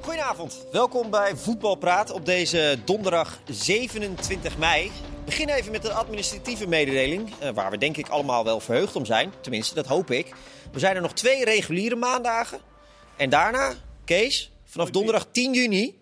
Goedenavond, welkom bij Voetbalpraat op deze donderdag 27 mei. Ik begin even met een administratieve mededeling, eh, waar we denk ik allemaal wel verheugd om zijn. Tenminste, dat hoop ik. We zijn er nog twee reguliere maandagen. En daarna, Kees, vanaf donderdag 10 juni,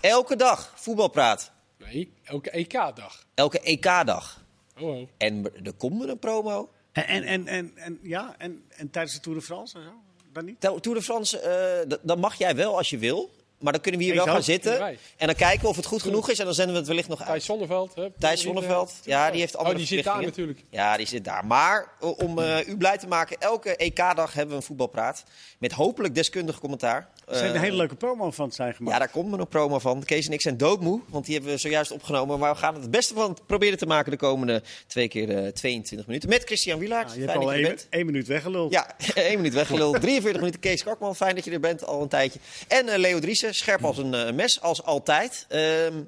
elke dag Voetbalpraat. Nee, elke EK-dag. Elke EK-dag. Oh, oh. En er komt er een promo. En, en, en, en, en- ja, en, en tijdens de Tour de France en zo? Dan niet? Tel- Tour de France, eh, d- dat mag jij wel als je wil. Maar dan kunnen we hier Ik wel gaan ook. zitten. Kunnen wij. En dan kijken we of het goed genoeg is. En dan zenden we het wellicht nog uit. Thijs Zonneveld. Hè? Thijs Zonneveld, ja, die heeft andere Oh, eh, die zit daar verplichtingen. natuurlijk. Ja, die zit daar. Maar o- om eh, u blij te maken, elke EK-dag hebben we een voetbalpraat. Met hopelijk deskundig commentaar. Er zijn Eh, een hele leuke promo van zijn gemaakt. ja, daar komt er een promo van. Kees en ik zijn doodmoe, want die hebben we zojuist opgenomen. Maar we gaan het beste van proberen te maken de komende twee keer eh, 22 minuten. Met Christian Wielaert. Ja, je hebt Fijn al dat er één, bent. één minuut weggeluld. Ja, één minuut weggeluld. 43 minuten Kees Kakman, fijn dat je er bent al een tijdje. En eh, Leo Driessen, scherp als een eh, mes, als altijd. Ehm,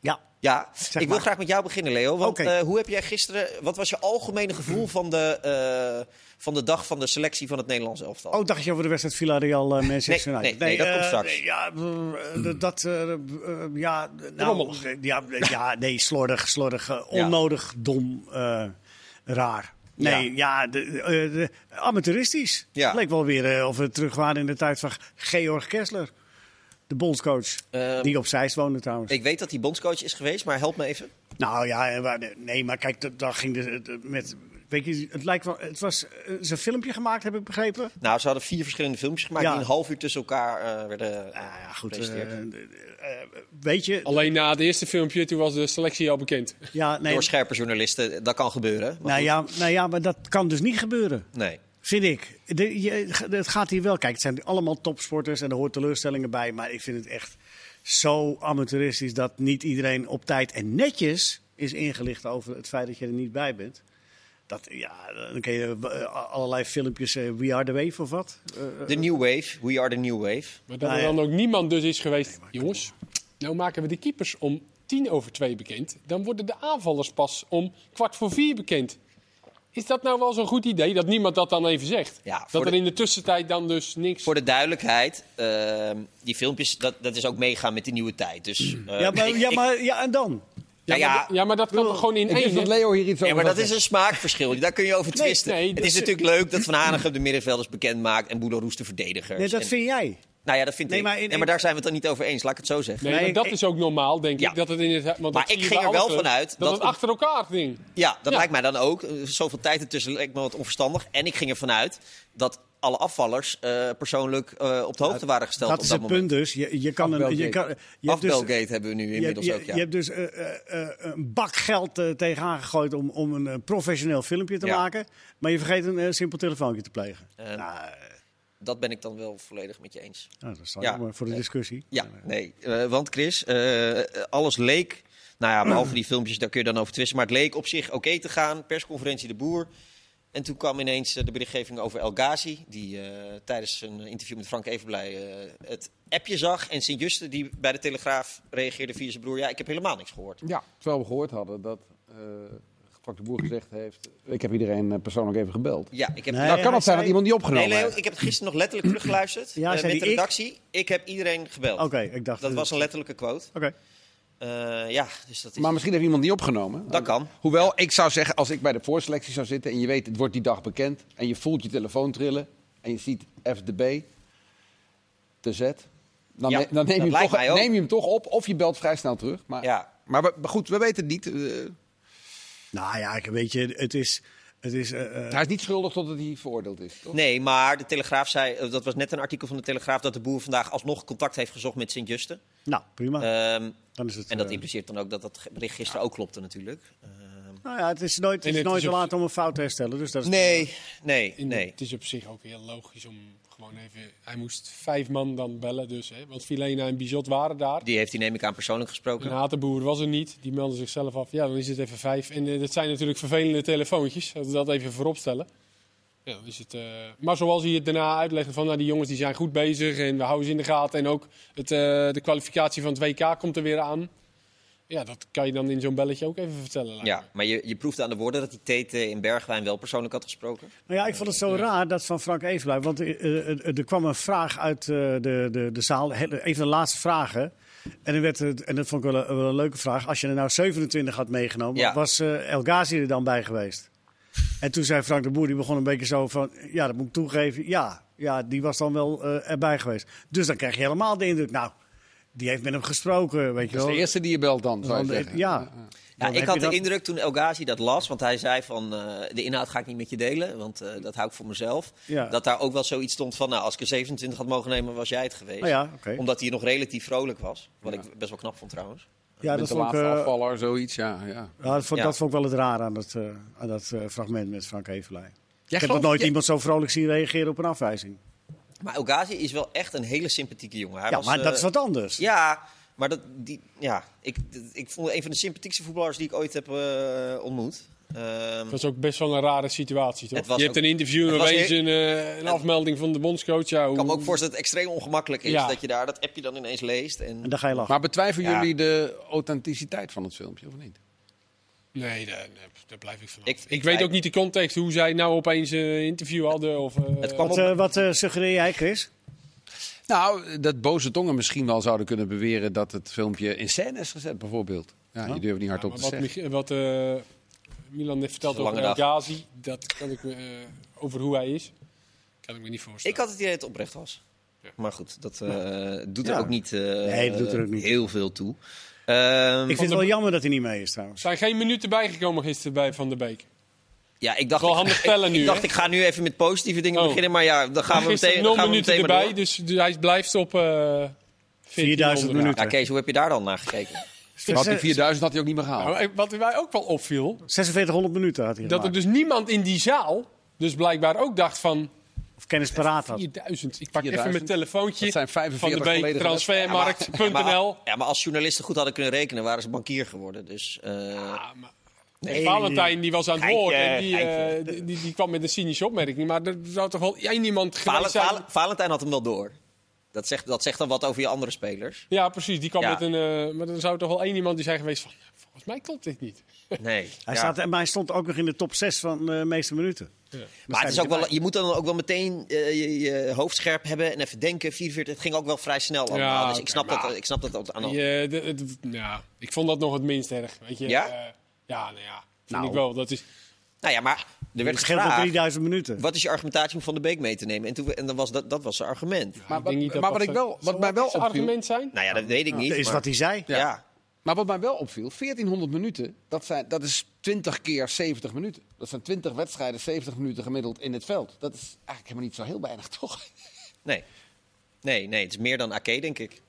Ja. ja, ik wil maar. graag met jou beginnen, Leo. Want Oké. eh, hoe heb jij gisteren, wat was je algemene gevoel van de, eh, van de dag van de selectie van het Nederlands elftal? Oh, dacht je over de wedstrijd Villarreal eh Manchester Nee, United? nee, nee, dat eh, komt straks. nee, Ja, eh, eh, dat, eh, eh, ja, nou, Rommelig. eh, ja, eh, ja, nee, slordig, slordig, eh, Ja. onnodig, dom, eh, raar. Nee, ja, de, eh, de- amateuristisch. Ja. Leek wel weer eh, of we terug waren in de tijd van Georg Kessler, de bondscoach, Ehm, die op Zeist woonde trouwens. Ik weet dat hij bondscoach is geweest, maar help me even. Nou ja, en waar- nee, maar kijk, dat- daar ging de, de- met. Weet je, het lijkt wel. Het was eh, ze een filmpje gemaakt, heb ik begrepen. Nou, ze hadden vier verschillende filmpjes gemaakt Ja. die een half uur tussen elkaar eh, werden eh, Nou ja, goed. gepresenteerd. eh, eh, eh, weet je, Alleen na het eerste filmpje, toen was de selectie al bekend. ja, nee, Door scherpe journalisten, eh, dat kan gebeuren. Maar nou, goed, ja, nou ja, maar dat kan dus niet gebeuren. Nee. Vind ik. De- je- het gaat hier wel. Kijk, het zijn allemaal topsporters en er hoort teleurstellingen bij. Maar ik vind het echt zo amateuristisch dat niet iedereen op tijd en netjes is ingelicht over het feit dat je er niet bij bent. Dat, ja, dan kun je eh, allerlei filmpjes, eh, We Are The Wave of wat. Eh, De New Wave, We Are The New Wave. Maar dat Nou er ja. dan ook niemand dus is geweest. Jongens, nou maken we de keepers om tien over twee bekend. Dan worden de aanvallers pas om kwart voor vier bekend. Is dat nou wel zo'n goed idee dat niemand dat dan even zegt? Ja, voor dat er de- in de tussentijd dan dus niks. Voor de duidelijkheid, ehm, die filmpjes, dat, dat is ook meegaan met de nieuwe tijd. Dus, eh, ja, maar, ik- ja, ik- maar ja, en dan? Ja, ja, maar, ja, maar dat kan toch gewoon in Ik wist één. dat hè? Leo hier iets over Ja, maar dat had. is een smaakverschil. Daar kun je over twisten. nee, het dat is is- natuurlijk leuk dat Van Hanegem de middenvelders bekend maakt en Boedo Roes de verdedigers. Nee, dat En- vind jij. Nou ja, dat vind Nee, ik. maar in- nee, maar daar zijn we het dan niet over eens, laat ik het zo zeggen. Nee, Nee, maar ik- dat ik- is ook normaal, denk Ja. ik. Dat het in het, want dat Maar ik zie je ging bij er wel alle clubs, vanuit dat, dat het op- achter elkaar ging. Ja, dat Ja. lijkt mij dan ook. Eh, Zoveel tijd ertussen lijkt me wat onverstandig. En ik ging ervan uit dat alle afvallers eh, persoonlijk eh, op de hoogte waren gesteld Dat op is dat het punt moment. dus. Je, je kan een, je Afbelgate. kan, je hebt dus, Afbelgate hebben we nu je, inmiddels je- ook, ja. je hebt dus eh, eh, eh, een bak geld eh, tegenaan gegooid om, om een eh, professioneel filmpje te Ja. maken. Maar je vergeet een eh, simpel telefoontje te plegen. Eh, nou, eh, Dat ben ik dan wel volledig met je eens. nou, dat staat ja. Eh, maar voor de discussie. Ja, nee. Eh, want Chris, eh, alles leek. Nou ja, behalve die filmpjes, daar kun je dan over twisten. Maar het leek op zich oké te gaan. Persconferentie de Boer. En toen kwam ineens eh, de berichtgeving over El Ghazi. Die eh, tijdens een interview met Frank Evenblij eh, het appje zag. En Sint-Juste, die bij de Telegraaf reageerde via zijn broer. Ja, ik heb helemaal niks gehoord. Ja, terwijl we gehoord hadden dat eh Frank de Boer gezegd heeft... Ik heb iedereen eh, persoonlijk even gebeld. Ja, ik heb... Nee, nou, hij kan het zijn zei- dat iemand die opgenomen Nee, Leo, heeft. ik heb het gisteren nog letterlijk teruggeluisterd Ja, eh, zei met die de ik? redactie. Ik, heb iedereen gebeld. Oké, ik dacht. Dat was een letterlijke quote. Oké. Eh, ja, dus dat is... Maar misschien heeft iemand die opgenomen. Eh, Dat kan. Hoewel, ik zou zeggen, als ik bij de voorselectie zou zitten... en je weet, het wordt die dag bekend... en je voelt je telefoon trillen... en je ziet F de B, de Z... Ja, Dan, ne- dan dat neem, je hem lijkt toch, mij ook. neem je hem toch op of je belt vrij snel terug. Maar, Ja. maar, we- maar goed, we weten het niet. eh, Nou ja, ik weet je, het is. Het is eh, eh, hij is niet schuldig totdat hij veroordeeld is, toch? Nee, maar de Telegraaf zei, eh, dat was net een artikel van de Telegraaf, dat de boer vandaag alsnog contact heeft gezocht met Sint-Juste. nou, prima. Ehm, dan is het, en dat eh, impliceert dan ook dat dat ge- bericht gisteren ook klopte natuurlijk. Ehm, nou ja, het is nooit, het En is het nooit is te ook- laat om een fout te herstellen. Dus dat is nee, nee, In- nee. Het is op zich ook heel logisch om gewoon even... Hij moest vijf man dan bellen dus, hè, want Filena en Bizot waren daar. Die heeft hij neem ik aan persoonlijk Een gesproken. Hatenboer was er niet, die meldde zichzelf af. Ja, dan is het even vijf. En eh, dat zijn natuurlijk vervelende telefoontjes, laten we dat even vooropstellen. Ja, dan is het, eh, Maar zoals hij het daarna uitlegde van nou, die jongens die zijn goed bezig en we houden ze in de gaten. En ook het, eh, de kwalificatie van het WK komt er weer aan. Ja, dat kan je dan in zo'n belletje ook even vertellen. lijkt me. Ja, maar je, je proeft aan de woorden dat die Tete in Bergwijn wel persoonlijk had gesproken. Nou ja, ik vond het zo raar dat van Frank Evenblij. Want eh, eh, eh, er kwam een vraag uit eh, de, de, de zaal. Heel- Een van de laatste vragen. En, dan werd het, en dat vond ik wel een, wel een leuke vraag. Als je er nou 27 had meegenomen, Ja. was eh, El Ghazi er dan bij geweest? En toen zei Frank de Boer, die begon een beetje zo van... Ja, dat moet ik toegeven. Ja, ja die was dan wel eh, erbij geweest. Dus dan krijg je helemaal de indruk... Nou, die heeft met hem gesproken, weet je Dat is wel. de eerste die je belt dan, eh, zou je Dan- zeggen. ja. Ja, Dan Nou, ik heb had je de dat- indruk toen El Ghazi dat las, want hij zei van eh, de inhoud ga ik niet met je delen, want eh, dat hou ik voor mezelf. Ja. Dat daar ook wel zoiets stond van, nou als ik er 27 had mogen nemen was jij het geweest. Oh ja, oké. Omdat hij nog relatief vrolijk was, wat ik best wel knap vond trouwens. Ja, Met dat de vond ik, laatste eh, afvaller, zoiets, ja. ja. Ja, dat vond, Ja. dat vond ik wel het raar aan dat, eh, aan dat eh, fragment met Frank Hevelij. Ik heb nog gelooft- nooit jij- iemand zo vrolijk zien reageren op een afwijzing. Maar El Ghazi is wel echt een hele sympathieke jongen. Hij ja, was, maar dat eh, is wat anders. Ja, maar dat, die, ja, ik, dat- ik vond hem een van de sympathiekste voetballers die ik ooit heb eh, ontmoet. Ehm, Dat was ook best wel een rare situatie, toch? Het was je hebt ook- een interview en het was opeens heel- een, eh, een afmelding van de bondscoach. Ja, ik kan me hoe- ook voorstellen dat het extreem ongemakkelijk is Ja. dat je daar dat appje dan ineens leest. En, En dan ga je lachen. Maar betwijfelen Ja. jullie de authenticiteit van het filmpje, of niet? Nee, daar, daar blijf ik van. af. Ik- Ik, ik- weet ik- ook niet de context hoe zij nou opeens een interview hadden. Of, eh, het kwam wat op, eh, wat eh, suggereer jij, Chris? Nou, dat boze tongen misschien wel zouden kunnen beweren dat het filmpje in scène is gezet, bijvoorbeeld. Ja, je durft niet hardop maar te wat zeggen. Mich- wat eh, Milan heeft verteld Het is een over El lange Ghazi, dat kan ik me, eh, over hoe hij is, kan ik me niet voorstellen. Ik had het idee dat het oprecht was. Maar goed, dat eh, doet er Ja. ook niet, eh, Nee, dat doet er ook niet. heel veel toe. Ehm, Ik vind het de- wel jammer dat hij niet mee is trouwens. Er zijn geen minuten bijgekomen gisteren bij Van der Beek. ja, ik dacht, Wel ik- handig ik- tellen ik, nu, dacht hè? ik ga nu even met positieve dingen Oh. beginnen. Maar ja, dan gaan we meteen, gisteren dan nul gaan we minuten meteen maar erbij, door. dus, dus hij blijft op eh 4000 minuten. Ja, minuten. Kees, hoe heb je daar dan naar gekeken? Had die 4000 had hij ook niet meer gehaald. Nou, eh, wat mij ook wel opviel, 4600 minuten had hij dat er gemaakt. dus niemand in die zaal, dus blijkbaar ook dacht van dus- Of kennis paraat had. 4000. Ik pak 4000. even mijn telefoontje Dat zijn van de 45 Beek, volledige Ja, maar, transfermarkt.nl. ja, maar als journalisten goed hadden kunnen rekenen, waren ze bankier geworden. Dus eh, Ja, maar- Valentijn die was aan het Geintje, woord en die, eh, geintje. die, die, die kwam met een cynische opmerking. Maar er zou toch wel één iemand Valen- geweest zijn... Valen- Valentijn had hem wel door. Dat zegt, dat zegt dan wat over je andere spelers. Ja, precies. Die kwam Ja. met een... eh, maar er zou toch wel één iemand die zijn geweest van... Volgens mij klopt dit niet. Nee. ja. Hij staat, maar hij stond ook nog in de top 6 van de meeste minuten. Maar het is ook wel, je moet dan ook wel meteen eh, je, je hoofd scherp hebben en even denken. 44, het ging ook wel vrij snel allemaal. Ja, dus ik oké, snap, maar- dat, ik snap dat ook Oh. aan de- Je, eh, de- het- ja, ik vond dat nog het minst erg. Weet je? Ja? Eh, ja, nou ja. Vind Nou. ik wel. Dat is, Nou ja, maar er werd Het scheelt wel gevraagd, 3000 minuten. wat is je argumentatie om Van de Beek mee te nemen? En, toen, we- en dan was dat, dat was zijn argument. Maar ik wat- denk niet dat maar dat wat ik zo- wel- wat zou mij wel dat zijn opviel- argument zijn? Nou ja, dat weet ik niet. Dat is maar- wat hij zei. ja. Maar wat mij wel opviel, 1400 minuten, dat, zijn, dat is 20 keer 70 minuten. Dat zijn 20 wedstrijden, 70 minuten gemiddeld in het veld. Dat is eigenlijk helemaal niet zo heel weinig, toch? Nee. nee, nee, het is meer dan AK, denk ik.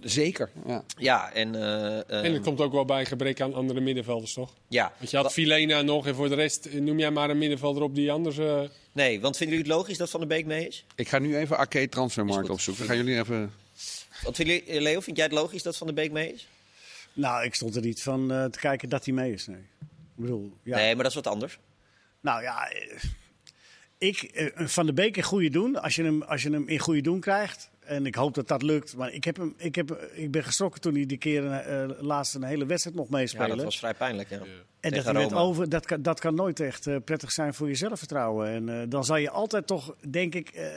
Zeker. Ja. Ja, en... eh, eh, En dat komt ook wel bij een gebrek aan andere middenvelders, toch? ja. Want je had Wa- Filena nog en voor de rest eh, noem jij maar een middenvelder op die anders... eh, Nee, want vinden jullie het logisch dat Van de Beek mee is? Ik ga nu even Arcade Is Transfermarkt goed. opzoeken. Gaan jullie even... Want vinden jullie- eh, Leo, vind jij het logisch dat Van de Beek mee is? Nou, ik stond er niet van eh, te kijken dat hij mee is. Nee. Ik bedoel, ja. Nee, maar dat is wat anders. Nou ja, eh, ik, eh, Van de Beek in goede doen. Als je, hem, als je hem in goede doen krijgt. En ik hoop dat dat lukt. Maar ik, heb hem, ik, heb, ik ben geschrokken toen hij die keer eh, laatst een hele wedstrijd mocht Ja, meespelen. dat was vrij pijnlijk, ja. en dat, tegen hij werd Roma. over, dat, kan, dat kan nooit echt eh, prettig zijn voor je zelfvertrouwen. En eh, dan zal je altijd toch, denk ik, eh,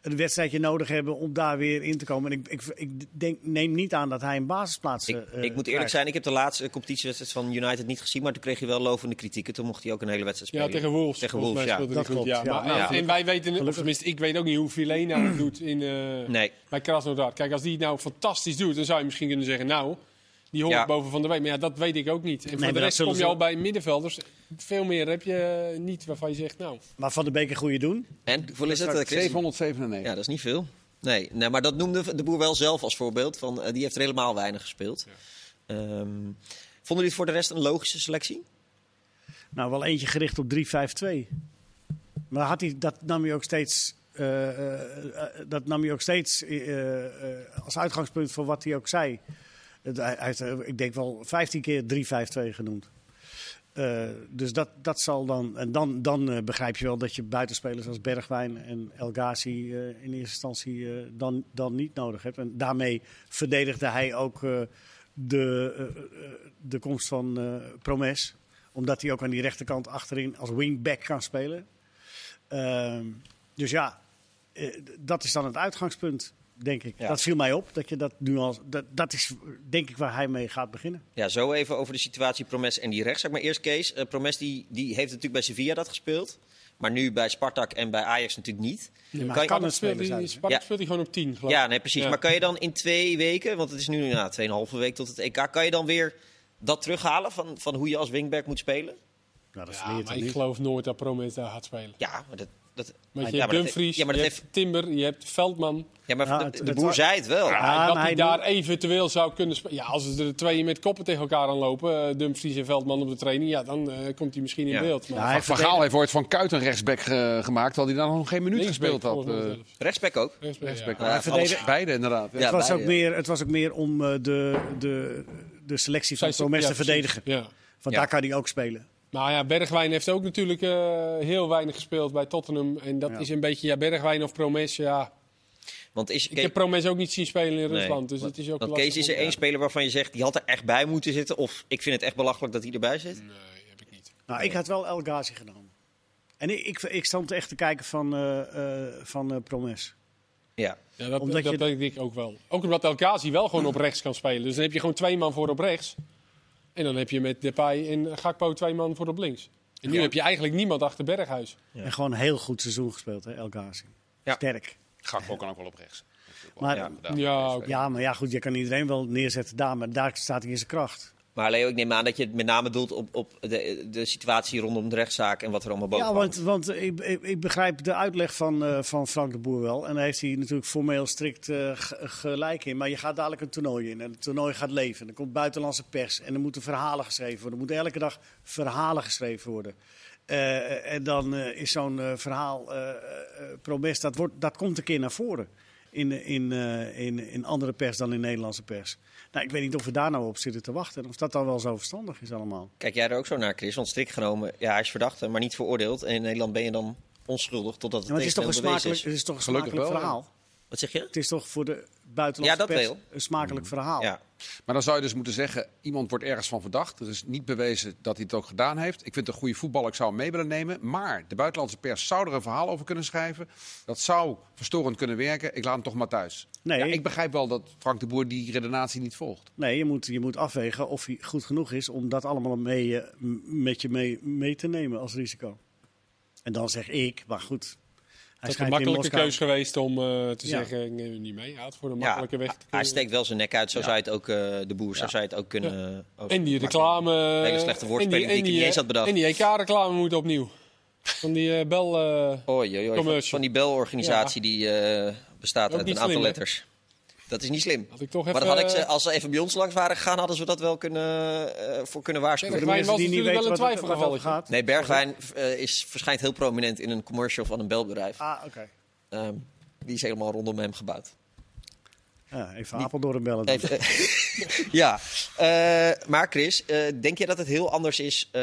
een wedstrijdje nodig hebben om daar weer in te komen. En ik, ik, ik denk, neem niet aan dat hij een basisplaats eh, Ik, ik moet eerlijk zijn, ik heb de laatste competitiewedstrijd van United niet gezien, maar toen kreeg je wel lovende kritieken. Toen mocht hij ook een hele wedstrijd Ja, spelen. tegen Wolves. Tegen Volgens Wolves, mij ja. speelde Dat hij goed, klopt, ja. ja. Maar- Ja. En wij weten, of tenminste, ik weet ook niet hoe Filena het doet in, eh, Nee. bij Krasnodar. Kijk, als die het nou fantastisch doet, dan zou je misschien kunnen zeggen, nou, die hoort Ja. boven Van de Week. Maar ja, dat weet ik ook niet. En maar voor de dat rest zullen kom je ze- al bij middenvelders. Veel meer heb je eh, niet waarvan je zegt, nou... Maar Van de Beek in goede doen. En hoeveel is dat, eh, Chris? 797. Ja, dat is niet veel. Nee, nee, maar dat noemde de boer wel zelf als voorbeeld. Van, eh, die heeft er helemaal weinig gespeeld. Ehm, vonden jullie het voor de rest een logische selectie? Nou, wel eentje gericht op 3-5-2. Maar had hij, dat nam hij ook steeds, eh, eh, eh, dat nam hij ook steeds eh, eh, als uitgangspunt voor wat hij ook zei. Het- hij hij heeft, eh, ik denk wel 15 keer 3-5-2 genoemd. Eh, dus dat, dat zal dan. En dan, dan eh, begrijp je wel dat je buitenspelers als Bergwijn en El Ghazi eh, in eerste instantie eh, dan, dan niet nodig hebt. En daarmee verdedigde hij ook eh, de, eh, eh, de komst van eh, Promes. Omdat hij ook aan die rechterkant achterin als wingback kan spelen. Ehm, dus ja, eh, d- dat is dan het uitgangspunt, denk ik. Ja. Dat viel mij op, dat je dat nu al... Dat, dat is denk ik waar hij mee gaat beginnen. Ja, zo even over de situatie Promes en die rechtszaak. Maar eerst Kees, eh, Promes die, die heeft natuurlijk bij Sevilla dat gespeeld. Maar nu bij Spartak en bij Ajax natuurlijk niet. maar Kan je- kan Spartak het speelt spelen hij- zijn. Spartak Ja. speelt hij gewoon op 10, geloof ik. Ja, nee, precies. Ja. Maar kan je dan in twee weken, want het is nu na 2,5 week tot het EK, kan je dan weer dat terughalen van, van hoe je als wingback moet spelen? Nou, dat Ja, verleert maar hij ik niet. geloof nooit dat Promes daar gaat spelen. Ja, maar dat. dat Ah, Want je ja, hebt maar dat- Dumfries, ja, maar dat je hebt Timber, je hebt Veldman. ja, maar Ja, de- het- de, het boer wa- zei het wel. Ja, En maar dat hij hij daar moet- eventueel zou kunnen spelen. Ja, als ze er twee met koppen tegen elkaar aan lopen, eh, Dumfries en Veldman op de training, ja, dan eh, komt hij misschien in Ja. beeld. Maar Ja, hij Van Gaal heeft ooit van Kuit een rechtsback eh, gemaakt, terwijl hij daar nog geen minuut linksback gespeeld had. volgens mij eh. zelfs. Rechtsback ook. Rechtsback, ja. rechtsback. Ja, Ja, verdedigen- alles- beide inderdaad. Ja. Ja. het, was beide, ook meer, het was ook meer om eh, de, de, de selectie van Zij- Promes ja, te precies. verdedigen. Ja. Want Ja. daar kan hij ook spelen. Maar ja, Bergwijn heeft ook natuurlijk eh, heel weinig gespeeld bij Tottenham. En dat Ja. is een beetje, ja, Bergwijn of Promes, ja. Want is, Ik heb Promes ook niet zien spelen in Rusland, dus het is ook Want lastig Kees, is om- er één speler waarvan je zegt, die had er echt bij moeten zitten? Of ik vind het echt belachelijk dat hij erbij zit? Nee, heb ik niet. Nou, ik had wel El Ghazi genomen. En ik, ik, ik stond echt te kijken van, eh, eh, van eh, Promes. Ja. Ja, dat, Omdat dat je- denk ik ook wel. Ook omdat El Ghazi wel gewoon op rechts kan spelen. Dus dan heb je gewoon twee man voor op rechts. En dan heb je met Depay en Gakpo twee man voor op links. En nu Ja. heb je eigenlijk niemand achter Berghuis. En gewoon een heel goed seizoen gespeeld, hè, El Ghazi. Ja. Sterk. Gakpo kan ook wel op rechts. Maar, Ja. ja. Inderdaad. Ja, oké. maar ja, goed, je kan iedereen wel neerzetten daar, maar daar staat hij in zijn kracht. Maar Leo, ik neem aan dat je het met name doelt op, op de, de situatie rondom de rechtszaak en wat er allemaal boven Ja, hangt. want, want ik, ik, ik begrijp de uitleg van, eh, van Frank de Boer wel. En daar heeft hij natuurlijk formeel strikt eh, g- gelijk in. Maar je gaat dadelijk een toernooi in. En het toernooi gaat leven. Er komt buitenlandse pers. En er moeten verhalen geschreven worden. Er moeten elke dag verhalen geschreven worden. Eh, en dan eh, is zo'n eh, verhaal, eh eh, Promes, dat, wordt, dat komt een keer naar voren. In, eh, in, eh, in, in andere pers dan in Nederlandse pers. Nou, ik weet niet of we daar nou op zitten te wachten. en Of dat dan wel zo verstandig is allemaal. Kijk jij er ook zo naar, Chris? Want strikt genomen, ja, hij is verdachte, maar niet veroordeeld. En in Nederland ben je dan onschuldig totdat het, Ja, maar het is toch een tegendeel bewezen smakelijk, het is toch een Gelukkig smakelijk wel, ja. verhaal. Wat zeg je? Het is toch voor de buitenlandse Ja, dat pers wel. een Mm. smakelijk verhaal. Ja. Maar dan zou je dus moeten zeggen, iemand wordt ergens van verdacht. Er is niet bewezen dat hij het ook gedaan heeft. Ik vind het een goede voetballer, ik zou hem mee willen nemen. Maar de buitenlandse pers zou er een verhaal over kunnen schrijven. Dat zou verstorend kunnen werken. Ik laat hem toch maar thuis. Nee. Ja, ik begrijp wel dat Frank de Boer die redenatie niet volgt. Nee, je moet, je moet afwegen of hij goed genoeg is om dat allemaal mee, eh, m- met je mee, mee te nemen als risico. En dan zeg ik, maar goed. Hij Dat is schijnt in een makkelijke Moskou- keus geweest om eh, te Ja. zeggen, ik neem hem niet mee. Hij had voor een Ja, makkelijke weg te hij kunnen. steekt wel zijn nek uit, zo zou je het ook, eh, de boer, zo zou je het ook kunnen... eh, over- En die maken. reclame... Hele slechte eh, woordspeling en die ik niet eh, eens had bedacht. En die EK-reclame moet opnieuw. Van die eh, bel... eh, Oei, oei, oei. Van, Commercial. van die belorganisatie die eh, bestaat Ook uit een niet aantal slim, hè? letters. Dat is niet slim. Had ik toch maar even, dat had ik ze, eh, als ze even bij ons langs waren gegaan, hadden ze dat wel kunnen, eh, voor kunnen waarschuwen. Bergwijn Voor de mensen was die niet natuurlijk weten wel een wat het- wat het over twijfelgevalletje. gaat. Nee, Bergwijn eh, is, verschijnt heel prominent in een commercial van een belbedrijf. Ah, oké. Ehm, die is helemaal rondom hem gebouwd. Ja, even Apeldoorn bellen. dan. Even, eh, ja, Eh, maar Chris, eh, denk je dat het heel anders is eh,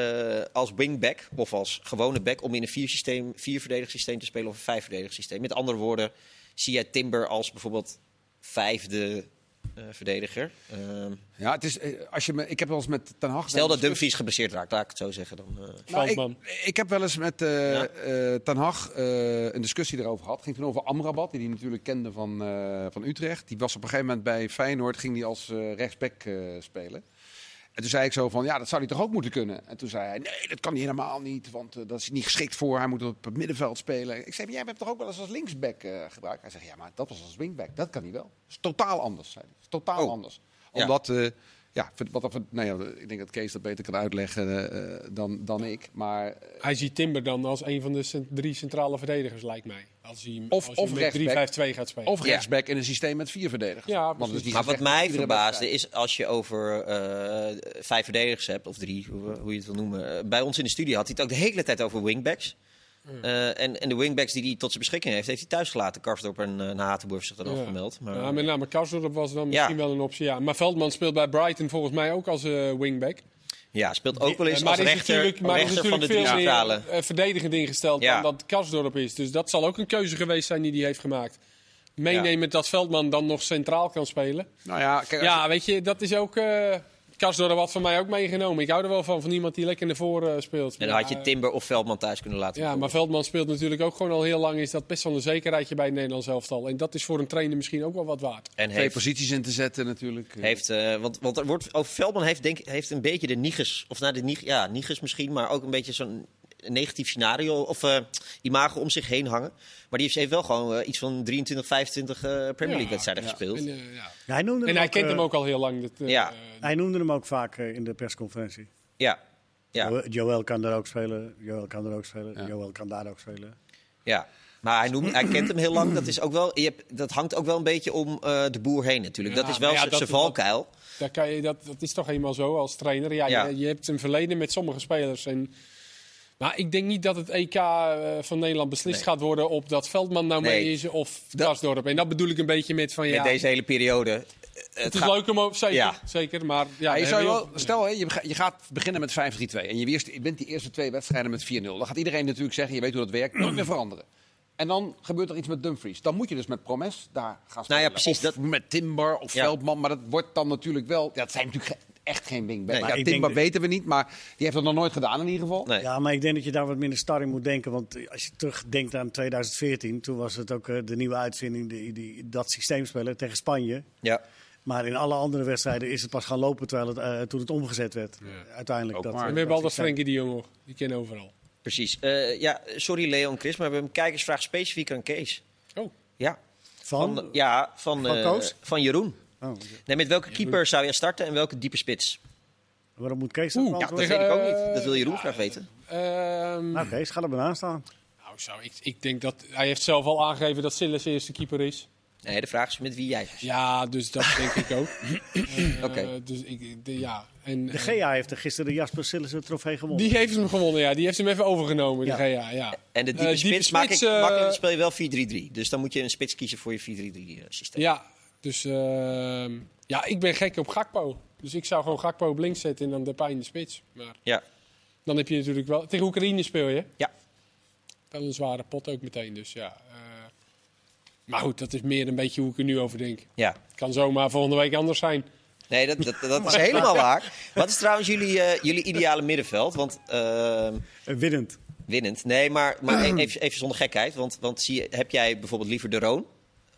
als wingback of als gewone back om in een vier systeem, vierverdedig systeem te spelen of een vijfverdedig systeem? Met andere woorden, zie jij Timber als bijvoorbeeld vijfde eh, verdediger? Ehm, Ja, het is, eh, als je me, ik heb wel eens met Ten Hag... stel dat Dumfries geblesseerd raakt, laat ik het zo zeggen. Dan, eh. Nou, ik, Veldman. ik heb wel eens met eh Ja. eh, Ten Hag eh, een discussie erover gehad. Het ging toen over Amrabat, die hij natuurlijk kende van, eh, van Utrecht. Die was op een gegeven moment bij Feyenoord, ging die als eh, rechtsback eh, spelen. En toen zei ik zo van, ja, dat zou hij toch ook moeten kunnen? En toen zei hij, nee, dat kan hij helemaal niet, want eh, dat is niet geschikt voor. Hij moet op het middenveld spelen. Ik zei, maar jij hebt hem toch ook wel eens als linksback eh, gebruikt? Hij zegt, ja, maar dat was als wingback. Dat kan hij wel. Dat is totaal anders, zei hij. Dat is totaal Oh. anders. Ja. Omdat, eh, ja, vind- wat, wat, nou ja, ik denk dat Kees dat beter kan uitleggen eh, eh, dan, dan ik. Maar, eh, Hij ziet Timber dan als een van de cent- drie centrale verdedigers, lijkt mij. Als hij, Of- als je of met rechtsback. 3-5-2 gaat spelen. of Ja. rechtsback in een systeem met vier verdedigers. Ja, Want precies. dat is niet Maar wat gezegd mij iedere verbaasde wedstrijd. is als je over eh, vijf verdedigers hebt, of drie, hoe, hoe je het wil noemen. Eh, bij ons in de studie had hij het ook de hele tijd over wingbacks. Hmm. Eh, en, en de wingbacks die hij tot zijn beschikking heeft, heeft hij thuis gelaten. Karsdorp en eh, Hatenboer heeft zich dan afgemeld. Maar, Ja, met name Karsdorp was dan Ja. misschien wel een optie. Ja. Maar Veldman speelt bij Brighton volgens mij ook als eh, wingback. ja, speelt ook wel Eh, eens maar als is rechter, natuurlijk, maar is rechter van de natuurlijk drie veel centrale. meer eh, verdedigend ingesteld Ja. dan dat Karsdorp is. Dus dat zal ook een keuze geweest zijn die hij heeft gemaakt. meenemend dat Veldman dan nog centraal kan spelen. Nou ja, kijk, als- Ja, weet je, dat is ook... eh Karsdorp had van mij ook meegenomen. Ik hou er wel van, van iemand die lekker naar voren eh, speelt. En dan Maar, had je eh, Timber of Veldman thuis kunnen laten. Ja, maar komen. Veldman speelt natuurlijk ook gewoon al heel lang. Is dat best wel een zekerheidje bij het Nederlands elftal. En dat is voor een trainer misschien ook wel wat waard. en twee heeft, posities in te zetten natuurlijk. heeft eh, want, want er wordt, oh, Veldman heeft, denk, heeft een beetje de Niges, of nou de Nig, ja, Niges misschien, maar ook een beetje zo'n negatief scenario of eh, imago om zich heen hangen. Maar die heeft wel gewoon eh, iets van 23, 25 eh, Premier League wedstrijden Ja, gespeeld. En, eh, ja. Ja, hij noemde En hij kent eh, hem ook al heel lang. Dat, eh, ja. eh, Hij noemde hem ook vaak eh, in de persconferentie. Ja, ja, Jo- Joël kan daar ook spelen. Joël kan daar ook spelen. Joël kan daar ook spelen. ja. Maar hij, noemt, hij kent hem heel lang. Dat, is ook wel, je hebt, dat hangt ook wel een beetje om eh, de boer heen natuurlijk. Ja, dat is wel maar ja, zijn dat- zijn valkuil. daar kan je, dat, dat is toch eenmaal zo als trainer. Ja, Ja. Je, je hebt een verleden met sommige spelers. En, maar ik denk niet dat het EK eh, van Nederland beslist Nee. gaat worden op dat Veldman nou Nee. mee is of Karsdorp. En dat bedoel ik een beetje met van ja, Met deze hele periode. Eh, het is gaat- leuk om over, zeker, Ja. zeker. Maar ja, Ja, je daar zou hebben wel, heel- stel, hè, je, bega- je gaat beginnen met 5-3-2 en je, eerst, je wint die eerste twee wedstrijden met 4-0. Dan gaat iedereen natuurlijk zeggen, je weet hoe dat werkt, nooit meer veranderen. En dan gebeurt er iets met Dumfries. Dan moet je dus met Promes daar gaan spelen. Nou ja, precies, Of dat- met Timber of Ja. Veldman. Maar dat wordt dan natuurlijk wel... Ja, dat zijn natuurlijk ge- echt geen wingbacks. Nee. Ja, Maar ik Timber denk dat- weten we niet, maar die heeft dat nog nooit gedaan in ieder geval. Nee. Ja, maar ik denk dat je daar wat minder star in moet denken. Want eh, als je terugdenkt aan 2014, toen was het ook eh, de nieuwe uitvinding, die, die, dat systeem spelen tegen Spanje. Ja. Maar in alle andere wedstrijden is het pas gaan lopen terwijl het, eh, toen het omgezet werd. Uiteindelijk. Ook dat, maar. eh, En we hebben altijd systeem. Frenkie de Jong, hoor. die kennen overal. Precies. Eh, ja, sorry Leo en Chris, maar we hebben een kijkersvraag specifiek aan Kees. Oh, Ja, Van? eh, ja, van, van eh, Koos? van Jeroen. Oh, Nee, met welke keeper zou jij starten en welke diepe spits? waarom moet Kees dat Ja, Oeh, dat beantwoorden? weet tegen, ik ook eh, niet. Dat wil Jeroen ja, graag weten. ehm, Nou, Kees, ga er maar aan staan. Nou, zo, ik, ik denk dat hij heeft zelf al aangegeven dat Silas eerste keeper is. Nee, de vraag is met wie jij. Ja, dus dat denk ik ook. Eh, Oké. Dus ik, de- ja. En, De eh, GA heeft er gisteren de Jasper Sillissen trofee gewonnen. die heeft hem gewonnen, ja. Die heeft hem even overgenomen, Ja. de GA, ja. En de Eh, diepe spits, maak ik, eh, makkelijk, dan speel je wel 4-3-3. Dus dan moet je een spits kiezen voor je 4-3-3 eh, systeem. Ja, dus ehm, ja, ik ben gek op Gakpo. Dus ik zou gewoon Gakpo op links zetten en dan Depay in de spits. Maar Ja. dan heb je natuurlijk wel... Tegen Oekraïne speel je. Ja. Wel een zware pot ook meteen, dus ja. eh, maar goed, dat is meer een beetje hoe ik er nu over denk. ja. Het kan zomaar volgende week anders zijn. Nee, dat, dat, dat is helemaal waar. Wat is trouwens jullie, eh, jullie ideale middenveld? Want ehm, Eh, Winnend. winnend. Nee, maar, maar e- even, even zonder gekheid. Want, want zie, je- heb jij bijvoorbeeld liever De Roon?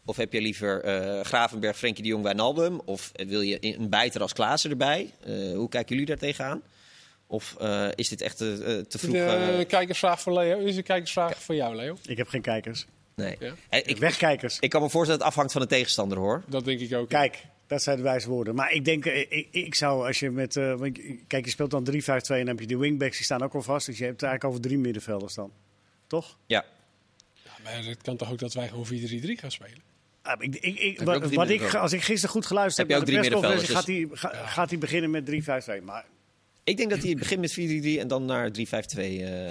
Of heb jij liever eh, Gravenberg, Frenkie de Jong, Wijnaldum? Of eh, wil je een bijter als Klaassen erbij? Eh, hoe kijken jullie daar tegenaan? Of eh, is dit echt eh, eh, te vroeg? De eh, kijkersvraag voor Leo. Dit is een kijkersvraag voor jou, Leo. Ik heb geen kijkers. nee. Ja. Eh, ik, Wegkijkers. ik kan me voorstellen dat het afhangt van de tegenstander, hoor. Dat denk ik ook. Kijk, dat zijn de wijze woorden. Maar ik denk, eh, ik, ik zou als je met. eh, want je- kijk, je speelt dan 3-5-2 en dan heb je die wingbacks, die staan ook al vast. Dus je hebt het eigenlijk over drie middenvelders dan. Toch? Ja. Ja, maar het kan toch ook dat wij gewoon 4-3-3 gaan spelen? Ah, ik, ik, ik, je ook wat drie wat ik, middenvelders? als ik gisteren goed geluisterd Heb heb, je naar de ook drie persconferentie, gaat hij ga- gaat hij beginnen met 3-5-2. Maar nou Ik denk dat hij begint met 4-3-3 en dan naar 3-5-2 eh,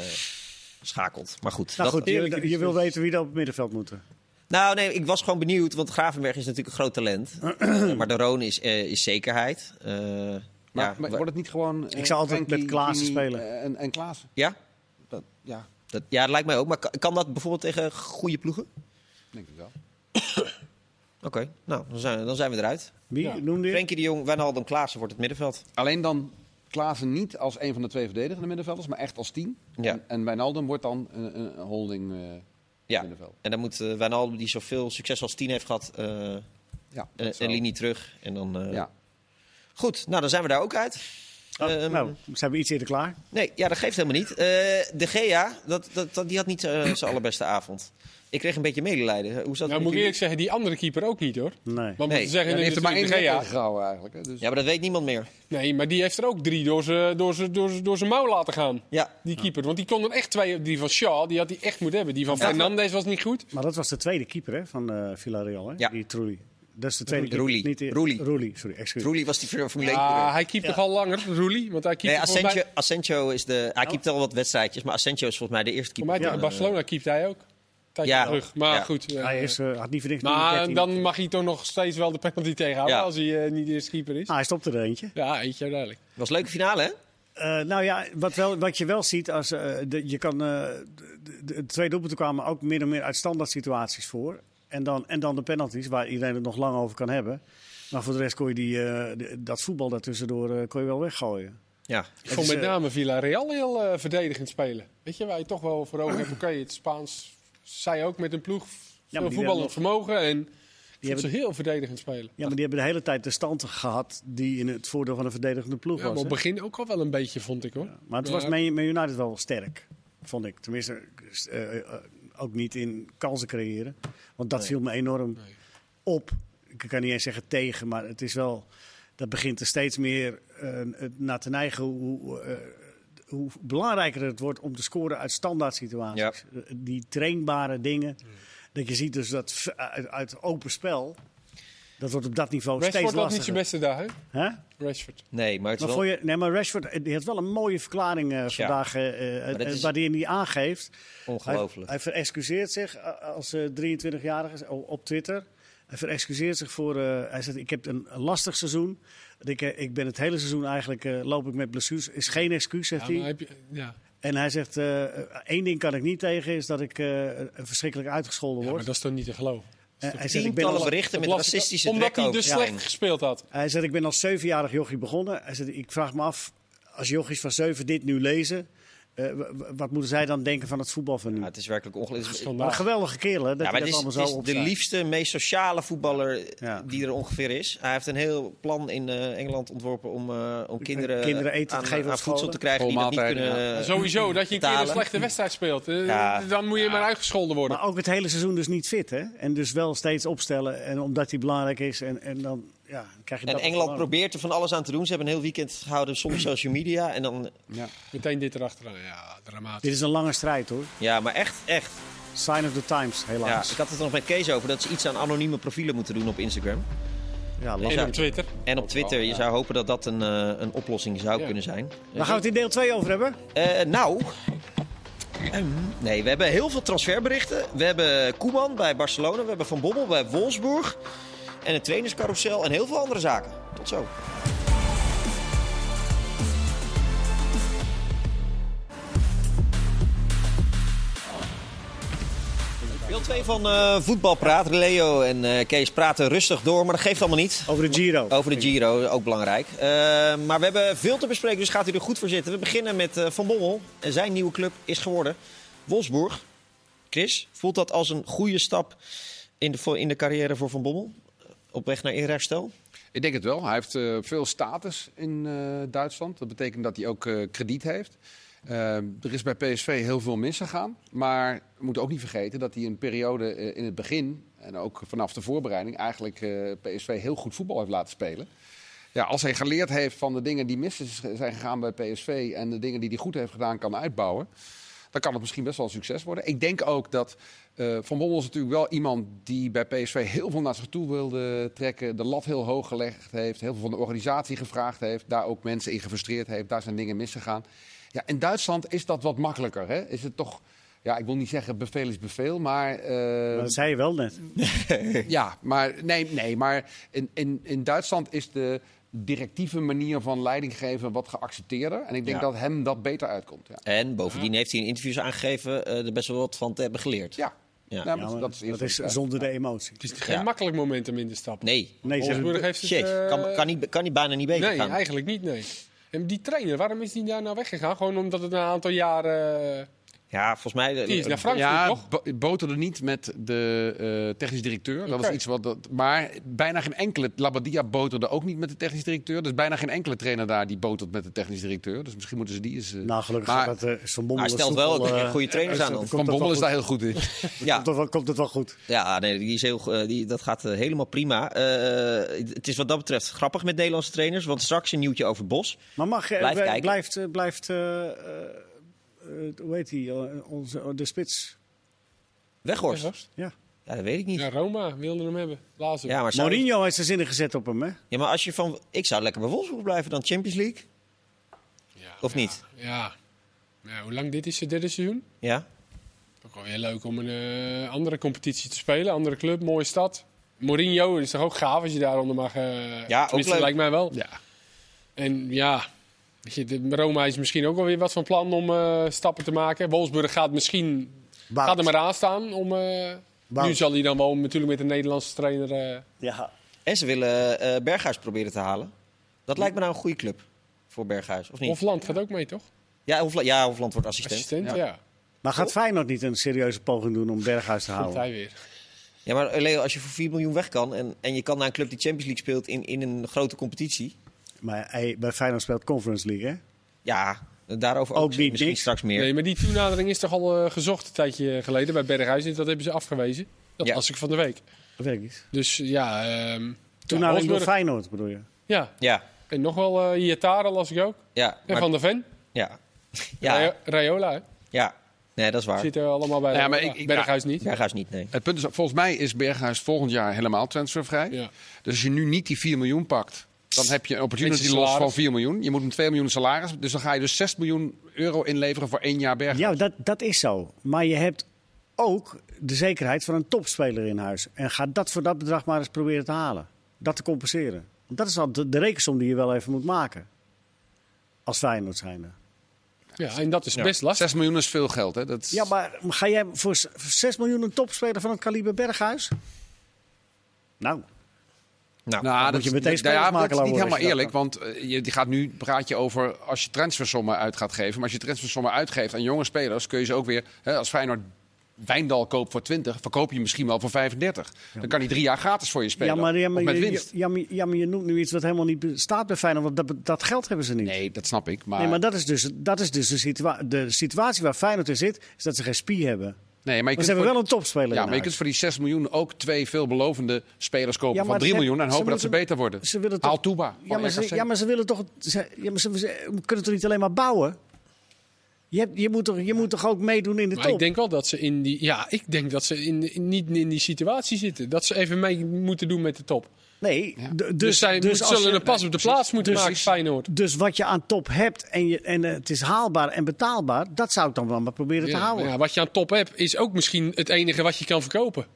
schakelt. Maar goed. nou dat- goed, je, je wil weten wie er op het middenveld eh. moeten. Nou, nee, ik was gewoon benieuwd, want Gravenberg is natuurlijk een groot talent. Eh, maar de Roon is, eh, is zekerheid. Eh, Maar, ja, maar wa- wordt het niet gewoon... eh, Ik zou altijd met Klaassen spelen. eh, En, en Klaassen. ja? Dat, ja, Dat, ja, dat lijkt mij ook. Maar kan, kan dat bijvoorbeeld tegen goede ploegen? denk ik wel. Oké, nou, dan zijn, dan zijn we eruit. Wie Ja. noemde je? Frenkie de Jong, Wijnaldum, Klaassen wordt het middenveld. Alleen dan Klaassen niet als een van de twee verdedigende middenvelders, maar echt als tien. Ja. En, en Wijnaldum wordt dan een, een holding eh, Ja, middenveld. en dan moet eh, Wijnaldum, die zoveel succes als tien heeft gehad, eh, Ja, een, dat een zou- linie terug. En dan, eh, ja. Goed, nou, dan zijn we daar ook uit. Oh, Ehm, nou, zijn we iets eerder klaar? Nee, ja, dat geeft helemaal niet. Eh, de Gea, dat, dat, dat, die had niet eh, zijn allerbeste avond. Ik kreeg een beetje medelijden. Hoe zat het Nou, met moet ik jullie? eerlijk zeggen, die andere keeper ook niet, hoor. Nee. Want Nee, nee, zeggen, Ja, die heeft er maar één natuurlijk de ja. Gea. gehouden eigenlijk. Hè. Dus Ja, maar dat weet niemand meer. Nee, maar die heeft er ook drie door zijn door z'n- door z'n- door z'n mouw laten gaan. Ja. Die keeper. Want die kon er echt twee... Die van Shaw, die had hij echt moeten hebben. Die van Ja. Fernandes was niet goed. Maar dat was de tweede keeper hè, van eh, Villarreal, hè? Ja. die Trulli. Dat is de tweede Roelie. keeper. Niet de- Roelie. Roelie, sorry, excuus. Roelie was die voor- Formule 1 Ah, coureur. hij keept toch al langer, Roelie? Want hij keept Nee, volgens mij- Asensio, Asensio is de... Hij keept al wat wedstrijdjes, maar Asensio is volgens mij de eerste Voor mij keeper. tegen van, eh, Barcelona keept hij ook. Tijdje Ja. terug. Maar Ja. goed. eh, Hij is, eh, had niet voor niks nummer maar 13. dan mag hij toch nog steeds wel de penalty tegenhouden Ja. als hij eh, niet de eerste keeper is. Ah, hij stopte er eentje. Ja, eentje duidelijk. was een leuke finale, hè? Eh, nou ja, wat, wel, wat je wel ziet, als, eh, de, je kan, eh, de, de- de twee doelpunten kwamen ook meer en meer uit standaard situaties voor. En En dan, en dan de penalties, waar iedereen het nog lang over kan hebben. Maar voor de rest kon je die, eh, de- dat voetbal daartussendoor eh, kon je wel weggooien. Ja, Ik vond is, met eh, name Villarreal heel eh, verdedigend spelen. Weet je, waar je toch wel voor ogen hebt. Oké, het Spaans, zij ook met een ploeg. die Veel werden voetballend nog- vermogen. En ik vond hebben- ze heel verdedigend spelen. Ja, maar die hebben de hele tijd de stand gehad die in het voordeel van een verdedigende ploeg Ja, maar was. op hè? het begin ook al wel een beetje, vond ik hoor. Maar het Ja. was Man Man United wel sterk, vond ik. Tenminste, eh, eh, ook niet in kansen creëren. Want dat viel me enorm Nee. op. Ik kan niet eens zeggen tegen, maar het is wel... Dat begint er steeds meer eh, het naar te neigen hoe, eh, hoe belangrijker het wordt om te scoren uit standaard situaties. Eh, Die trainbare dingen. Dat je ziet dus dat v- uit, uit open spel, dat wordt op dat niveau Rashford steeds was niet zijn lastiger. beste daar, hè? Hè? Rashford. nee, maar het is Maar, wel... voor je, nee, maar Rashford eh, die had wel een mooie verklaring eh, vandaag, eh, eh, dat eh, is- waarin hij aangeeft. Hij, Ongelooflijk. hij verexcuseert zich eh, als eh, 23-jarige o- op Twitter. Hij verexcuseert zich voor. eh, hij zegt: Ik heb een een lastig seizoen. Ik, eh, ik ben het hele seizoen eigenlijk. eh, loop ik met blessures. Is geen excuus, Ja, zegt maar hij. heb je, ja. En hij zegt: eh, één ding kan ik niet tegen, is dat ik eh, verschrikkelijk uitgescholden Ja, maar word. dat is toch niet te geloven? Eh, hij, zegt, ik ben Tientallen als, berichten met Dat las ik- racistische Omdat trek hij over. dus Ja. slecht gespeeld had. hij zegt: Ik ben als zevenjarig jochie begonnen. Hij zegt: Ik vraag me af, als jochies van zeven dit nu lezen. eh, w- w- wat moeten zij dan denken van het voetbal van nu? Ja, het is werkelijk ongelooflijk. Maar een geweldige kerel, hè? Dat Ja, hij maar het dat is, allemaal zo het is de opzet. liefste, meest sociale voetballer Ja. die er ongeveer is. Hij heeft een heel plan in eh, Engeland ontworpen om, eh, om kinderen, kinderen eten te aan, geven aan op voedsel scholen. te krijgen die dat niet Schoolmaaltijden, kunnen... ja. eh, Sowieso, dat je een keer een betalen. slechte wedstrijd speelt. eh, Ja. Dan moet je maar uitgescholden worden. Maar ook het hele seizoen dus niet fit, hè? En dus wel steeds opstellen, en omdat hij belangrijk is. En, en dan ja, dan krijg je En dat Engeland gewoon. probeert er van alles aan te doen. Ze hebben een heel weekend gehouden zonder social media. En dan, Ja. Meteen dit erachteraan. Ja, dramatisch. Dit is een lange strijd, hoor. ja, maar echt, echt. Sign of the times, Ja, helaas. ik had het er nog met Kees over dat ze iets aan anonieme profielen moeten doen op Instagram. Ja, Nee, lastig. ja. En op Twitter. En op Twitter. Je zou hopen dat dat een, eh, een oplossing zou Ja. kunnen zijn. Waar gaan we het in deel 2 over hebben? Eh, nou. ehm, nee, we hebben heel veel transferberichten. We hebben Koeman bij Barcelona. We hebben Van Bommel bij Wolfsburg. En het trainerscarousel en heel veel andere zaken. Tot zo. Deel 2 van eh Voetbalpraat. Leo en eh, Kees praten rustig door, maar dat geeft allemaal niet. Over de Giro. Over de Giro, ook belangrijk. Eh, maar we hebben veel te bespreken, dus gaat u er goed voor zitten. We beginnen met eh, Van Bommel. En Zijn nieuwe club is geworden Wolfsburg. Chris, voelt dat als een goede stap in de, voor- in de carrière voor Van Bommel? Op weg naar eerherstel? Ik denk het wel. Hij heeft eh, veel status in eh, Duitsland. Dat betekent dat hij ook eh, krediet heeft. Eh, er is bij PSV heel veel misgegaan. Maar we moeten ook niet vergeten dat hij een periode eh, in het begin... en ook vanaf de voorbereiding eigenlijk eh, PSV heel goed voetbal heeft laten spelen. Ja, als hij geleerd heeft van de dingen die mis is- zijn gegaan bij PSV... en de dingen die hij goed heeft gedaan kan uitbouwen... dan kan het misschien best wel een succes worden. Ik denk ook dat eh, Van Bommel is natuurlijk wel iemand die bij PSV heel veel naar zich toe wilde trekken. De lat heel hoog gelegd heeft, heel veel van de organisatie gevraagd heeft. Daar ook mensen in gefrustreerd heeft, daar zijn dingen misgegaan. Ja, in Duitsland is dat wat makkelijker. Hè? Is het toch, ja, ik wil niet zeggen bevel is bevel, maar... eh, Dat zei je wel net. ja, maar, nee, nee, maar in, in, in Duitsland is de directieve manier van leiding geven wat geaccepteerder. En ik denk Ja. dat hem dat beter uitkomt. Ja, En bovendien heeft hij in interviews aangegeven eh, er best wel wat van te hebben geleerd. ja. Ja. Nou, Ja, maar dat is, eerst dat is wat ik zei. zonder de emotie. Het is geen Ja. makkelijk moment om in te stappen. Nee, Nee, ze Wolfsburg hebben- heeft het... shit, eh, kan, kan, niet, kan niet bijna niet beter nee, gaan. eigenlijk niet, nee. En die trainer, waarom is die daar nou weggegaan? Gewoon omdat het na een aantal jaren... eh, Ja, volgens mij... eh, die is naar Frankrijk, Ja, toch? bo- boterde niet met de eh, technisch directeur. Dat was Oké. iets wat. Dat, maar bijna geen enkele. Labadia boterde ook niet met de technisch directeur. Dus bijna geen enkele trainer daar die botert met de technisch directeur. Dus misschien moeten ze die eens. eh, Nou, gelukkig Maar- gaat dat, eh, Van Bommel Hij is stelt wel soepel, eh, goede trainers aan dan. Van dat Bommel wel is daar heel goed in. Ja. Komt het wel- Komt het wel goed? Ja, nee, die is heel, eh, die, dat gaat eh, helemaal prima. Eh, het is wat dat betreft grappig met Nederlandse trainers. Want straks een nieuwtje over Bos. Maar mag, eh, Blijf blij- kijken. blijft, eh, blijft eh, eh, eh, hoe heet die, eh, onze, de spits? Weghorst. Weghorst? Ja. Ja, dat weet ik niet. Ja, Ja, Roma wilde hem hebben. Lazio. maar, zou- Mourinho heeft zijn zinnen gezet op hem, hè? ja, maar als je van... Ik zou lekker bij Wolfsburg blijven dan Champions League. Ja, Of ja, niet? Ja. Ja, hoe lang dit is, het derde seizoen? Ja. Ook wel weer leuk om een eh, andere competitie te spelen. Andere club, mooie stad. Mourinho is toch ook gaaf als je daaronder mag... eh Ja, ook tenminste, leuk. lijkt mij wel. ja. En ja, weet je, de- Roma is misschien ook wel weer wat van plan om eh, stappen te maken. Wolfsburg gaat misschien Wout. gaat er maar aan staan om eh, Wout. Nu zal hij dan wel natuurlijk met een Nederlandse trainer. eh, Ja. En ze willen eh, Berghuis proberen te halen. Dat lijkt me nou een goede club voor Berghuis, of niet? Hofland gaat ook mee, toch? Ja, Hofla ja, Hofland wordt assistent. Assistent, ja. Ja. Maar gaat Feyenoord niet een serieuze poging doen om Berghuis te Komt houden? hij weer. Ja, maar eh, Leo, als je voor 4 miljoen weg kan en, en je kan naar een club die Champions League speelt in, in een grote competitie. Maar hij, bij Feyenoord speelt Conference League, hè? Ja, daarover ook, Ook niet misschien niks. straks meer. Nee, maar die toenadering is toch al eh, gezocht een tijdje geleden bij Berghuis. En dat hebben ze afgewezen. Dat Ja. was ik van de week. Dat weet ik niet. Dus ja, ehm Toen ja, naar Wolfsburg. Feyenoord, bedoel je? Ja, Ja, en nog wel eh Iataren las ik ook. ja. En maar- Van der Ven. ja. Rayo- Ja, Rayola, hè? ja. Nee, dat is waar. Zitten allemaal bij Ja, Rayola. maar ik- ik- Berghuis niet. Berghuis niet, nee. Het punt is, volgens mij is Berghuis volgend jaar helemaal transfervrij. Ja. Dus als je nu niet die 4 miljoen pakt, dan heb je een opportunity Met je los salaris. van 4 miljoen. Je moet hem 2 miljoen salaris. Dus dan ga je dus 6 miljoen euro inleveren voor één jaar Berghuis. Ja, dat, dat is zo. Maar je hebt ook de zekerheid van een topspeler in huis. En ga dat voor dat bedrag maar eens proberen te halen. Dat te compenseren. Want dat is al de, de rekensom die je wel even moet maken. Als Feyenoord zijnde. Ja, en dat is Ja. best lastig. 6 miljoen is veel geld, hè? Dat is- Ja, maar ga jij voor s- voor 6 miljoen een topspeler van het kaliber Berghuis? Nou, Nou, Nou, dat, moet je meteen dat- nou ja, spelersmakelaar dat is niet worden helemaal als je dat eerlijk, want eh, je die gaat nu praat je over als je transfersommen uit gaat geven. Maar als je transfersommen uitgeeft aan jonge spelers, kun je ze ook weer, hè, als Feyenoord Wijndal koopt voor 20, verkoop je hem misschien wel voor 35. Dan kan hij drie jaar gratis voor je spelen, ja, maar, ja, maar, of met je- winst. ja, maar- ja, maar je noemt nu iets wat helemaal niet staat bij Feyenoord. Want dat, be- dat geld hebben ze niet. Nee, dat snap ik, maar, Nee, maar dat is dus, dat is dus de, situa- de situatie waar Feyenoord in zit, is dat ze geen spier hebben. nee, maar je Maar kunt ze hebben voor- wel een topspeler in Ja, maar je huis. kunt voor die 6 miljoen ook twee veelbelovende spelers kopen Ja, van maar 3 ze- miljoen en ze hopen dat ze moeten- beter worden. ze willen Haal toch- Touba Ja, van maar RKC. ze, ja, maar ze willen toch. Ze, ja, maar ze, ze kunnen toch niet alleen maar bouwen? Je, hebt, je, moet, toch, je moet toch ook meedoen in de Maar top? ik denk wel dat ze in die. Ja, ik denk dat ze in, in- niet in die situatie zitten. Dat ze even mee moeten doen met de top. nee, d- dus, Dus, zij dus moeten- als zullen je- een pas op de plaats moeten Dus- maken, Feyenoord. Dus wat je aan top hebt en, je, en eh, het is haalbaar en betaalbaar, dat zou ik dan wel maar proberen te Ja, houden. maar ja, Ja. wat je aan top hebt, is ook misschien het enige wat je kan verkopen.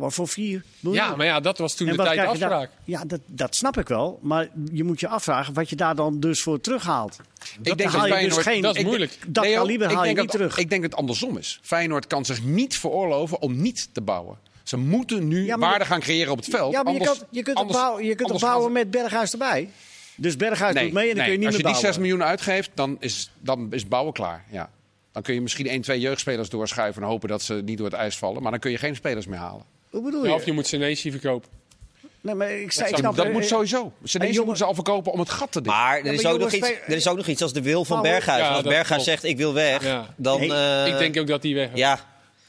maar voor vier miljoen. Ja, maar ja, dat was toen En de wat tijd de krijg je daar- afspraak. Ja, dat, dat snap ik wel. Maar je moet je afvragen wat je daar dan dus voor terughaalt. Ik denk haal dat je dus Feyenoord- geen- Dat is ik- moeilijk. Dat Leo, kaliber ik haal je denk niet dat- terug. Ik denk dat het andersom is. Feyenoord kan zich niet veroorloven om niet te bouwen. Ze moeten nu Ja, maar waarde dat- gaan creëren op het veld. Ja, maar je, anders- kan, je kunt het anders- bouwen, je kunt het anders gaan bouwen ze- met Berghuis erbij. Dus Berghuis Nee, doet mee en dan nee, kun je niet als meer je die bouwen. 6 miljoen uitgeeft, dan is, dan is bouwen klaar. Ja. Dan kun je misschien 1, 2 jeugdspelers doorschuiven en hopen dat ze niet door het ijs vallen. Maar dan kun je geen spelers meer halen. Hoe bedoel Ja, of je je? moet Senesi verkopen. Nee, maar ik, zei- zou- ik snap dat eh, moet eh, sowieso. Ze jongen- moeten ze al verkopen om het gat te dichten. Maar er is, dus- maar ook nog jongens, iets, wij- er is ook nog iets als de wil van Nou, Berghuis. ja, als dat Berghuis klopt. zegt ik wil weg, Ja. dan, eh, ik denk ook dat die weg is. ja,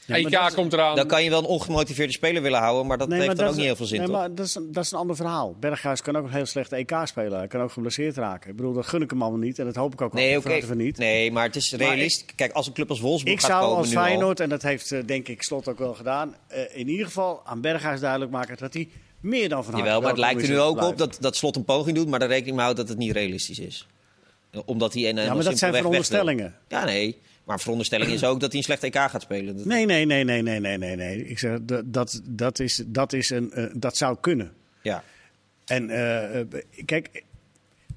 EK maar dat- komt eraan. dan kan je wel een ongemotiveerde speler willen houden, maar dat nee, maar heeft dan dat ook is- niet heel veel zin, nee, toch? maar dat is, een- dat is een ander verhaal. Berghuis kan ook een heel slecht EK spelen. Hij kan ook geblesseerd raken. Ik bedoel, dat gun ik hem allemaal niet. En dat hoop ik ook wel Nee, van oké. harte van niet. nee, maar het is realistisch. Kijk, als een club als Wolfsburg Ik gaat zou komen als nu al- Feyenoord, en dat heeft eh, denk ik Slot ook wel gedaan... eh, in ieder geval aan Berghuis duidelijk maken dat hij meer dan van harte Nou, Jawel, maar het welkom lijkt er Nou, is nu om te ook op blijven. dat, dat Slot een poging doet, maar er rekening mee houdt dat het niet realistisch is. Eh, Omdat hij een Ja, maar dat zijn veronderstellingen. Ja, nee. Maar veronderstelling is ook dat hij een slecht EK gaat spelen. Dat- Nee, nee, nee, nee, nee, nee, nee. nee. Ik zeg, dat, dat, dat, is, dat, is een, eh, dat zou kunnen. Ja. En eh, eh, kijk,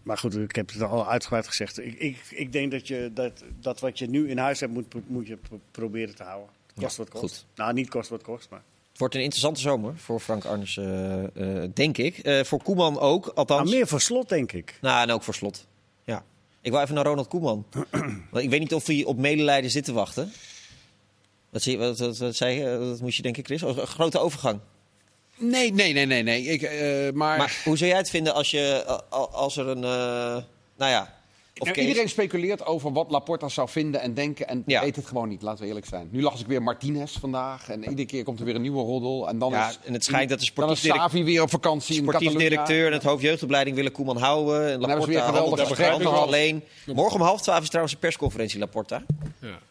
maar goed, ik heb het al uitgebreid gezegd. Ik, ik, ik denk dat, je, dat, dat wat je nu in huis hebt, moet, moet je pro- proberen te houden. Kost wat kost. goed. Nou, niet kost wat kost, maar. Het wordt een interessante zomer voor Frank Arnes, eh, eh, denk ik. Eh, voor Koeman ook, althans. Maar Nou, meer voor slot, denk ik. Nou, en ook voor slot. Ja. Ik wil even naar Ronald Koeman. Want ik weet niet of hij op medelijden zit te wachten. Wat, zie, wat, wat, wat zei je? Dat moest je denken, Chris. Oh, Een grote overgang. Nee, nee, nee, nee. nee. Ik, eh, maar Maar hoe zou jij het vinden als, je, a- a- als er een... eh, nou ja. Of Nou, Kees- iedereen speculeert over wat Laporta zou vinden en denken. En Ja. weet het gewoon niet, laten we eerlijk zijn. Nu las ik weer Martinez vandaag. En iedere keer komt er weer een nieuwe roddel. En dan Ja, is, en het schijnt dat de dan is sportief, direct- Savi weer op vakantie in sportief Catalonia. directeur en het hoofd jeugdopleiding willen Koeman houden. En Dan hebben ze Laporta Nou, weer geweldig handelt- gesprek. handelt Begrijp ik alleen. Morgen om half twaalf is trouwens een persconferentie Laporta.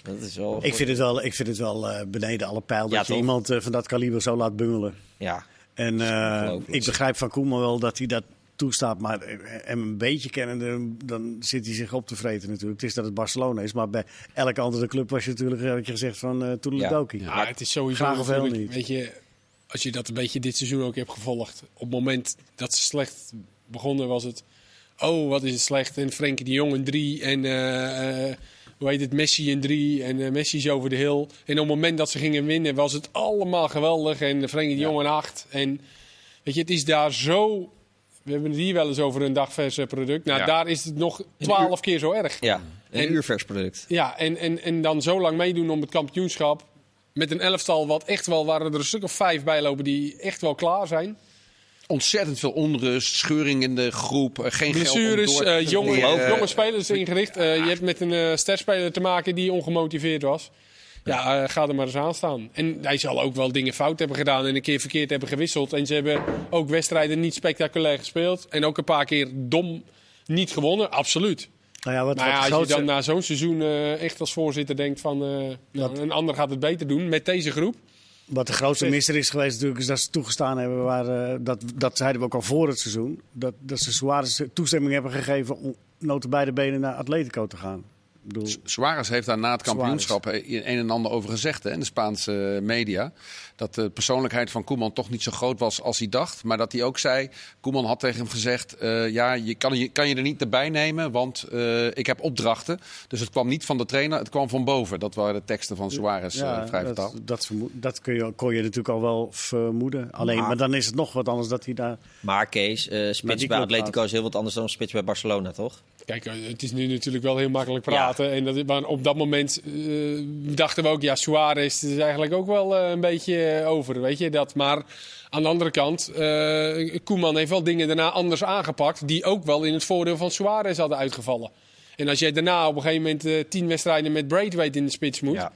Dat is wel... Ik vind het wel, ik vind het wel eh, beneden alle pijl Ja, dat je toch? iemand eh, van dat kaliber zo laat bungelen. Ja. En eh, ongelooflijk. ik begrijp van Koeman wel dat hij dat toestaat. Maar eh, hem een beetje kennende, dan zit hij zich op te vreten natuurlijk. Het is dat het Barcelona is, maar bij elke andere club was je natuurlijk, eh, had je gezegd van eh toedeledokie. Ja, het is sowieso graag of wel natuurlijk, niet. Weet je, als je dat een beetje dit seizoen ook hebt gevolgd. Op het moment dat ze slecht begonnen was het... Oh, wat is het slecht. En Frenkie de Jong een drie. En eh, eh, hoe heet het, Messi in drie en eh, Messi is over de hill. En op het moment dat ze gingen winnen was het allemaal geweldig. En Frenkie de Jong en acht. En weet je, het is daar zo... We hebben het hier wel eens over een dagverse product. Nou, Ja. daar is het nog twaalf keer zo erg. Ja, een En- uurvers product. Ja, en, en, en dan zo lang meedoen om het kampioenschap. Met een elftal wat echt wel, waren er een stuk of vijf bij lopen die echt wel klaar zijn. Ontzettend veel onrust, scheuring in de groep, eh, geen Blessures, geld om door eh, te jonge, leren. jonge spelers ingericht. Eh, je hebt met een eh sterspeler te maken die ongemotiveerd was. Ja, eh, ga er maar eens aan staan. En hij zal ook wel dingen fout hebben gedaan en een keer verkeerd hebben gewisseld. En ze hebben ook wedstrijden niet spectaculair gespeeld. En ook een paar keer dom niet gewonnen, absoluut. Nou ja, wat, Maar ja, wat de als je grootste- dan na zo'n seizoen eh, echt als voorzitter denkt van... eh, nou, een ander gaat het beter doen met deze groep. Wat de grootste misser is geweest natuurlijk, is dat ze toegestaan hebben, waar, eh, dat, dat zeiden we ook al voor het seizoen, dat, dat ze Suarez toestemming hebben gegeven om nota beide benen naar Atletico te gaan. Ik bedoel, Suarez heeft daar na het Suarez. kampioenschap eh, een en ander over gezegd hè, in de Spaanse eh, media. Dat de persoonlijkheid van Koeman toch niet zo groot was als hij dacht. Maar dat hij ook zei, Koeman had tegen hem gezegd... eh, ja, je kan, je kan je er niet erbij nemen, want eh, ik heb opdrachten. Dus het kwam niet van de trainer, het kwam van boven. Dat waren de teksten van Suarez eh, vrij dat, vertaald. dat, vermoed- dat kun je, kon je natuurlijk al wel vermoeden. Alleen, Maar- maar, dan is het nog wat anders dat hij daar... Maar Kees, eh, Maar spits die bij club Atletico is heel wat anders dan een spits bij Barcelona, toch? Kijk, eh, het is nu natuurlijk wel heel makkelijk praten. En dat, maar op dat moment eh, dachten we ook, ja, Suarez is eigenlijk ook wel eh, een beetje eh, over, weet je dat. Maar aan de andere kant, eh, Koeman heeft wel dingen daarna anders aangepakt... die ook wel in het voordeel van Suarez hadden uitgevallen. En als jij daarna op een gegeven moment eh, tien wedstrijden met Braithwaite in de spits moet... Ja.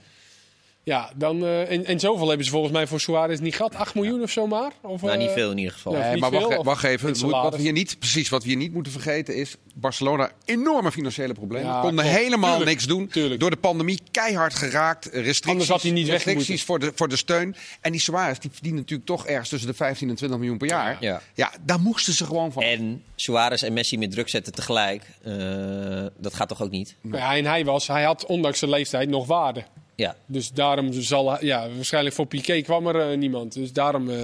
dan, eh, en, en zoveel hebben ze volgens mij voor Suarez niet gehad. 8 miljoen of zo maar? Of, Nou, niet eh, veel in ieder geval. Nee. Eh, niet maar wacht, veel, eh, of wacht even, iets Wat- wat salaris. we hier niet, precies wat we hier niet moeten vergeten is... Barcelona, enorme financiële problemen. Ja, Konden klopt. helemaal Tuurlijk, niks doen. tuurlijk. Door de pandemie keihard geraakt. eh, Restricties, Anders had hij niet weg restricties voor de, voor de steun. En die Suarez, die verdient natuurlijk toch ergens tussen de 15 en 20 miljoen per jaar. Ja. daar moesten ze gewoon Oh. van. En Suarez en Messi met druk zetten tegelijk, eh, dat gaat toch ook niet? Nou Ja, en hij, was, hij had ondanks zijn leeftijd nog waarde. Ja. Dus daarom zal hij- ja, waarschijnlijk voor Piqué kwam er eh, niemand. Dus daarom eh,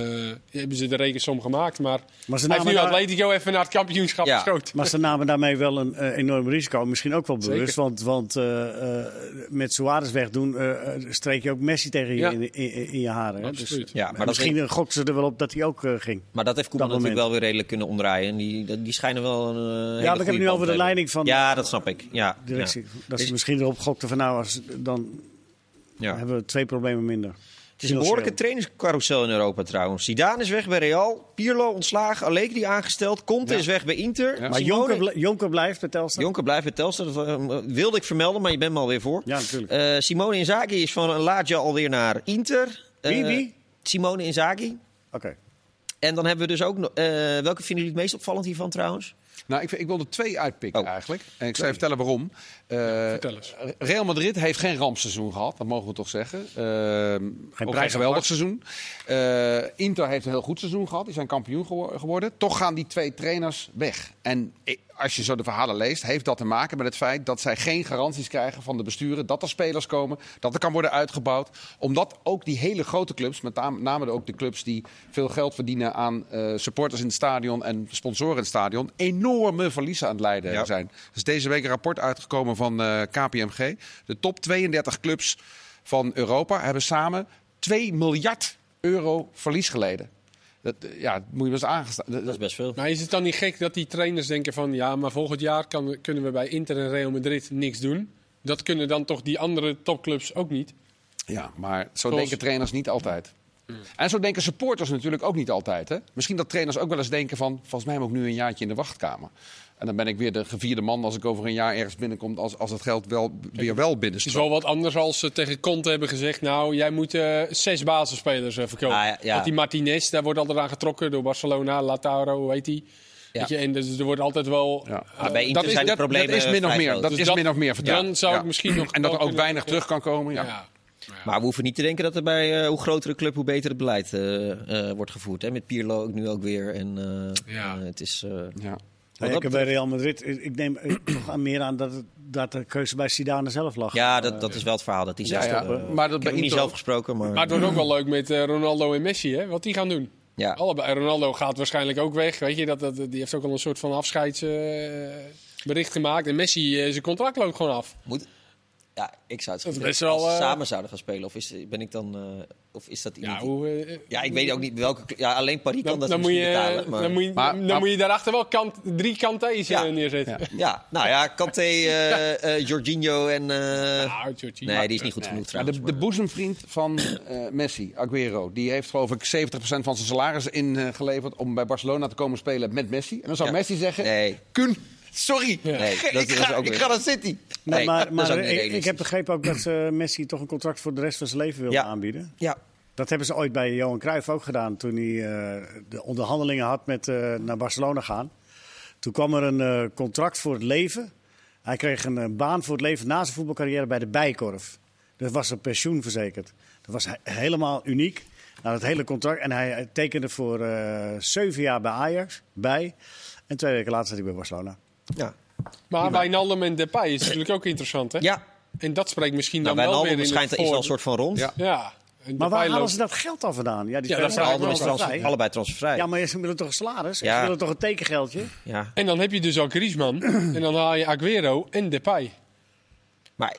hebben ze de rekensom gemaakt. Maar, Maar ze hij heeft nu namen daar- Atletico even naar het kampioenschap Ja. geschoten. Maar ze namen daarmee wel een eh, enorm risico. Misschien ook wel bewust. Zeker. Want, want eh, eh, met Suarez wegdoen eh, eh, streek je ook Messi tegen je Ja. in, in, in je haren. Hè? Dus, Absoluut. Ja, maar en dat misschien eh, gokten ze er wel op dat hij ook eh, ging. Maar dat heeft Koeman Dat natuurlijk moment. wel weer redelijk kunnen omdraaien. Die, die schijnen wel een eh, hele ik heb goede het nu band over de te hebben. leiding van- Ja, dat snap ik. Ja, Directie. ja. Dat Is- ze misschien erop gokten van nou, als, dan Ja. hebben we twee problemen minder. Het is een behoorlijke trainingscarousel in Europa trouwens. Zidane is weg bij Real, Pirlo ontslagen, Allegri aangesteld, Conte is weg bij Inter. Maar Simone- Jonker, bl- Jonker blijft bij Telstar. Jonker blijft bij Telstar, dat eh, wilde ik vermelden, maar je bent me alweer voor. Ja, natuurlijk. Eh, Simone Inzaghi is van Lazio alweer naar Inter. Eh, Wie, wie? Simone Inzaghi. Oké. En dan hebben we dus ook... nog- eh, welke vinden jullie het meest opvallend hiervan trouwens? Nou, ik, ik wil er twee uitpikken Oh. eigenlijk. En ik zal je vertellen waarom. Eh, vertel eens. Real Madrid heeft geen rampseizoen gehad, dat mogen we toch zeggen. Eh, ook geen prijs geweldig seizoen. Eh, Inter heeft een heel goed seizoen gehad, die zijn kampioen gewo- geworden. Toch gaan die twee trainers weg. En ik- als je zo de verhalen leest, heeft dat te maken met het feit dat zij geen garanties krijgen van de besturen. Dat er spelers komen, dat er kan worden uitgebouwd. Omdat ook die hele grote clubs, met naam- name ook de clubs die veel geld verdienen aan eh, supporters in het stadion en sponsoren in het stadion, enorme verliezen aan het lijden Ja. zijn. Er is deze week een rapport uitgekomen van eh, KPMG. De top 32 clubs van Europa hebben samen 2 miljard euro verlies geleden. Dat, eh, ja, dat moet je wel eens aangestaan. dat- Dat is best veel. Maar is het dan niet gek dat die trainers denken van... ja, maar volgend jaar kan, kunnen we bij Inter en Real Madrid niks doen. Dat kunnen dan toch die andere topclubs ook niet. Ja, maar zo Zoals- denken trainers niet altijd. En zo denken supporters natuurlijk ook niet altijd. Hè? Misschien dat trainers ook wel eens denken van... volgens mij heb ik nu een jaartje in de wachtkamer. En dan ben ik weer de gevierde man als ik over een jaar ergens binnenkom... als, als het geld wel, weer wel Het is binnenstroomt. wel wat anders als ze tegen Conte hebben gezegd... nou, jij moet eh, zes basisspelers eh, verkopen. Ah, ja, ja. Want die Martinez, daar wordt altijd aan getrokken door Barcelona, Lautaro, hoe heet Ja. die? Ah, Weet je, en dus er wordt altijd wel... eh, Ja. Maar bij Inter dat, is, zijn de dat, problemen eh, dat is min of vrij meer, groot. dat Dus is dat- min of meer vertrouwd. dan zou ik Ja. misschien nog En wel dat er ook kunnen- weinig terug kan komen. Ja. Ja. Maar we hoeven niet te denken dat er bij eh, hoe grotere club, hoe beter het beleid eh, eh, wordt gevoerd. Hè? Met Pirlo ook nu ook weer. En, eh, Ja. eh, het is, eh, Ja. wat Nou, dat ik heb bij Real Madrid, ik ik neem eh, toch aan meer aan dat, het- dat de keuze bij Zidane zelf lag. ja, dat, dat is wel het verhaal. Dat hij Ja, zelf, ja, eh, maar dat ik bij heb hem niet Inter- zelf gesproken, maar, Maar het wordt ook wel leuk met eh, Ronaldo en Messi, hè? wat die gaan doen. ja. Allebei. Ronaldo gaat waarschijnlijk ook weg. Weet je, dat, dat, die heeft ook al een soort eh, van afscheidsbericht gemaakt. En Messi, eh, zijn contract loopt gewoon af. Moet, Ja, ik zou het Dat is goed best vinden. wel, Als ze eh, samen zouden gaan spelen, of is, ben ik dan... eh, of is dat iemand... Ja, die- hoe, eh, ja, ik weet ook niet welke... Ja, alleen Paris kan Dan, dat dan, moet, je, eh, misschien betalen. Maar... dan, moet, je, Maar- dan maar- moet je daarachter wel kant, drie kantees Ja. eh, neerzetten. Ja, nou ja, Kanté, eh eh Jorginho en... eh, Nou, Jorginho. nee, die is niet goed genoeg Maar trouwens. de, de maar- boezemvriend van eh, Messi, Aguero, die heeft geloof ik 70% van zijn salaris ingeleverd om bij Barcelona te komen spelen met Messi. En dan zou Ja. Messi zeggen: Nee. Kun, sorry, Nee, ik, dat- dat is ga, ook ik weer- ga naar City. Nee, maar dat maar is ook niet ik, ik realistisch. heb begrepen ook dat eh, Messi toch een contract voor de rest van zijn leven wilde Ja. aanbieden. Ja, Dat hebben ze ooit bij Johan Cruijff ook gedaan toen hij eh, de onderhandelingen had met eh, naar Barcelona gaan. Toen kwam er een eh, contract voor het leven. Hij kreeg een eh, baan voor het leven na zijn voetbalcarrière bij de Bijkorf. Dat was een pensioen verzekerd. Dat was he- helemaal uniek. Nou, dat hele contract. En hij eh, tekende voor eh, zeven jaar bij Ajax bij. En twee weken later zat hij bij Barcelona. ja. Nou, Maar Wijnaldum en Depay is natuurlijk ook interessant, hè? ja. En dat spreekt misschien Nou, dan wel weer Wijnaldum in schijnt het is wel voor- een soort van rond. Ja. Ja. en Maar waar Depay halen loopt- ze dat geld dan vandaan? Ja, die Ja, spelers dat zijn zijn Allebei, allemaal allemaal transfer, vrij. allebei transfervrij. Ja, Ja, maar ze willen toch een salaris? Ja. Ze willen toch een tekengeldje? En dan heb je dus al Griezmann. en dan haal je Aguero en Depay. Maar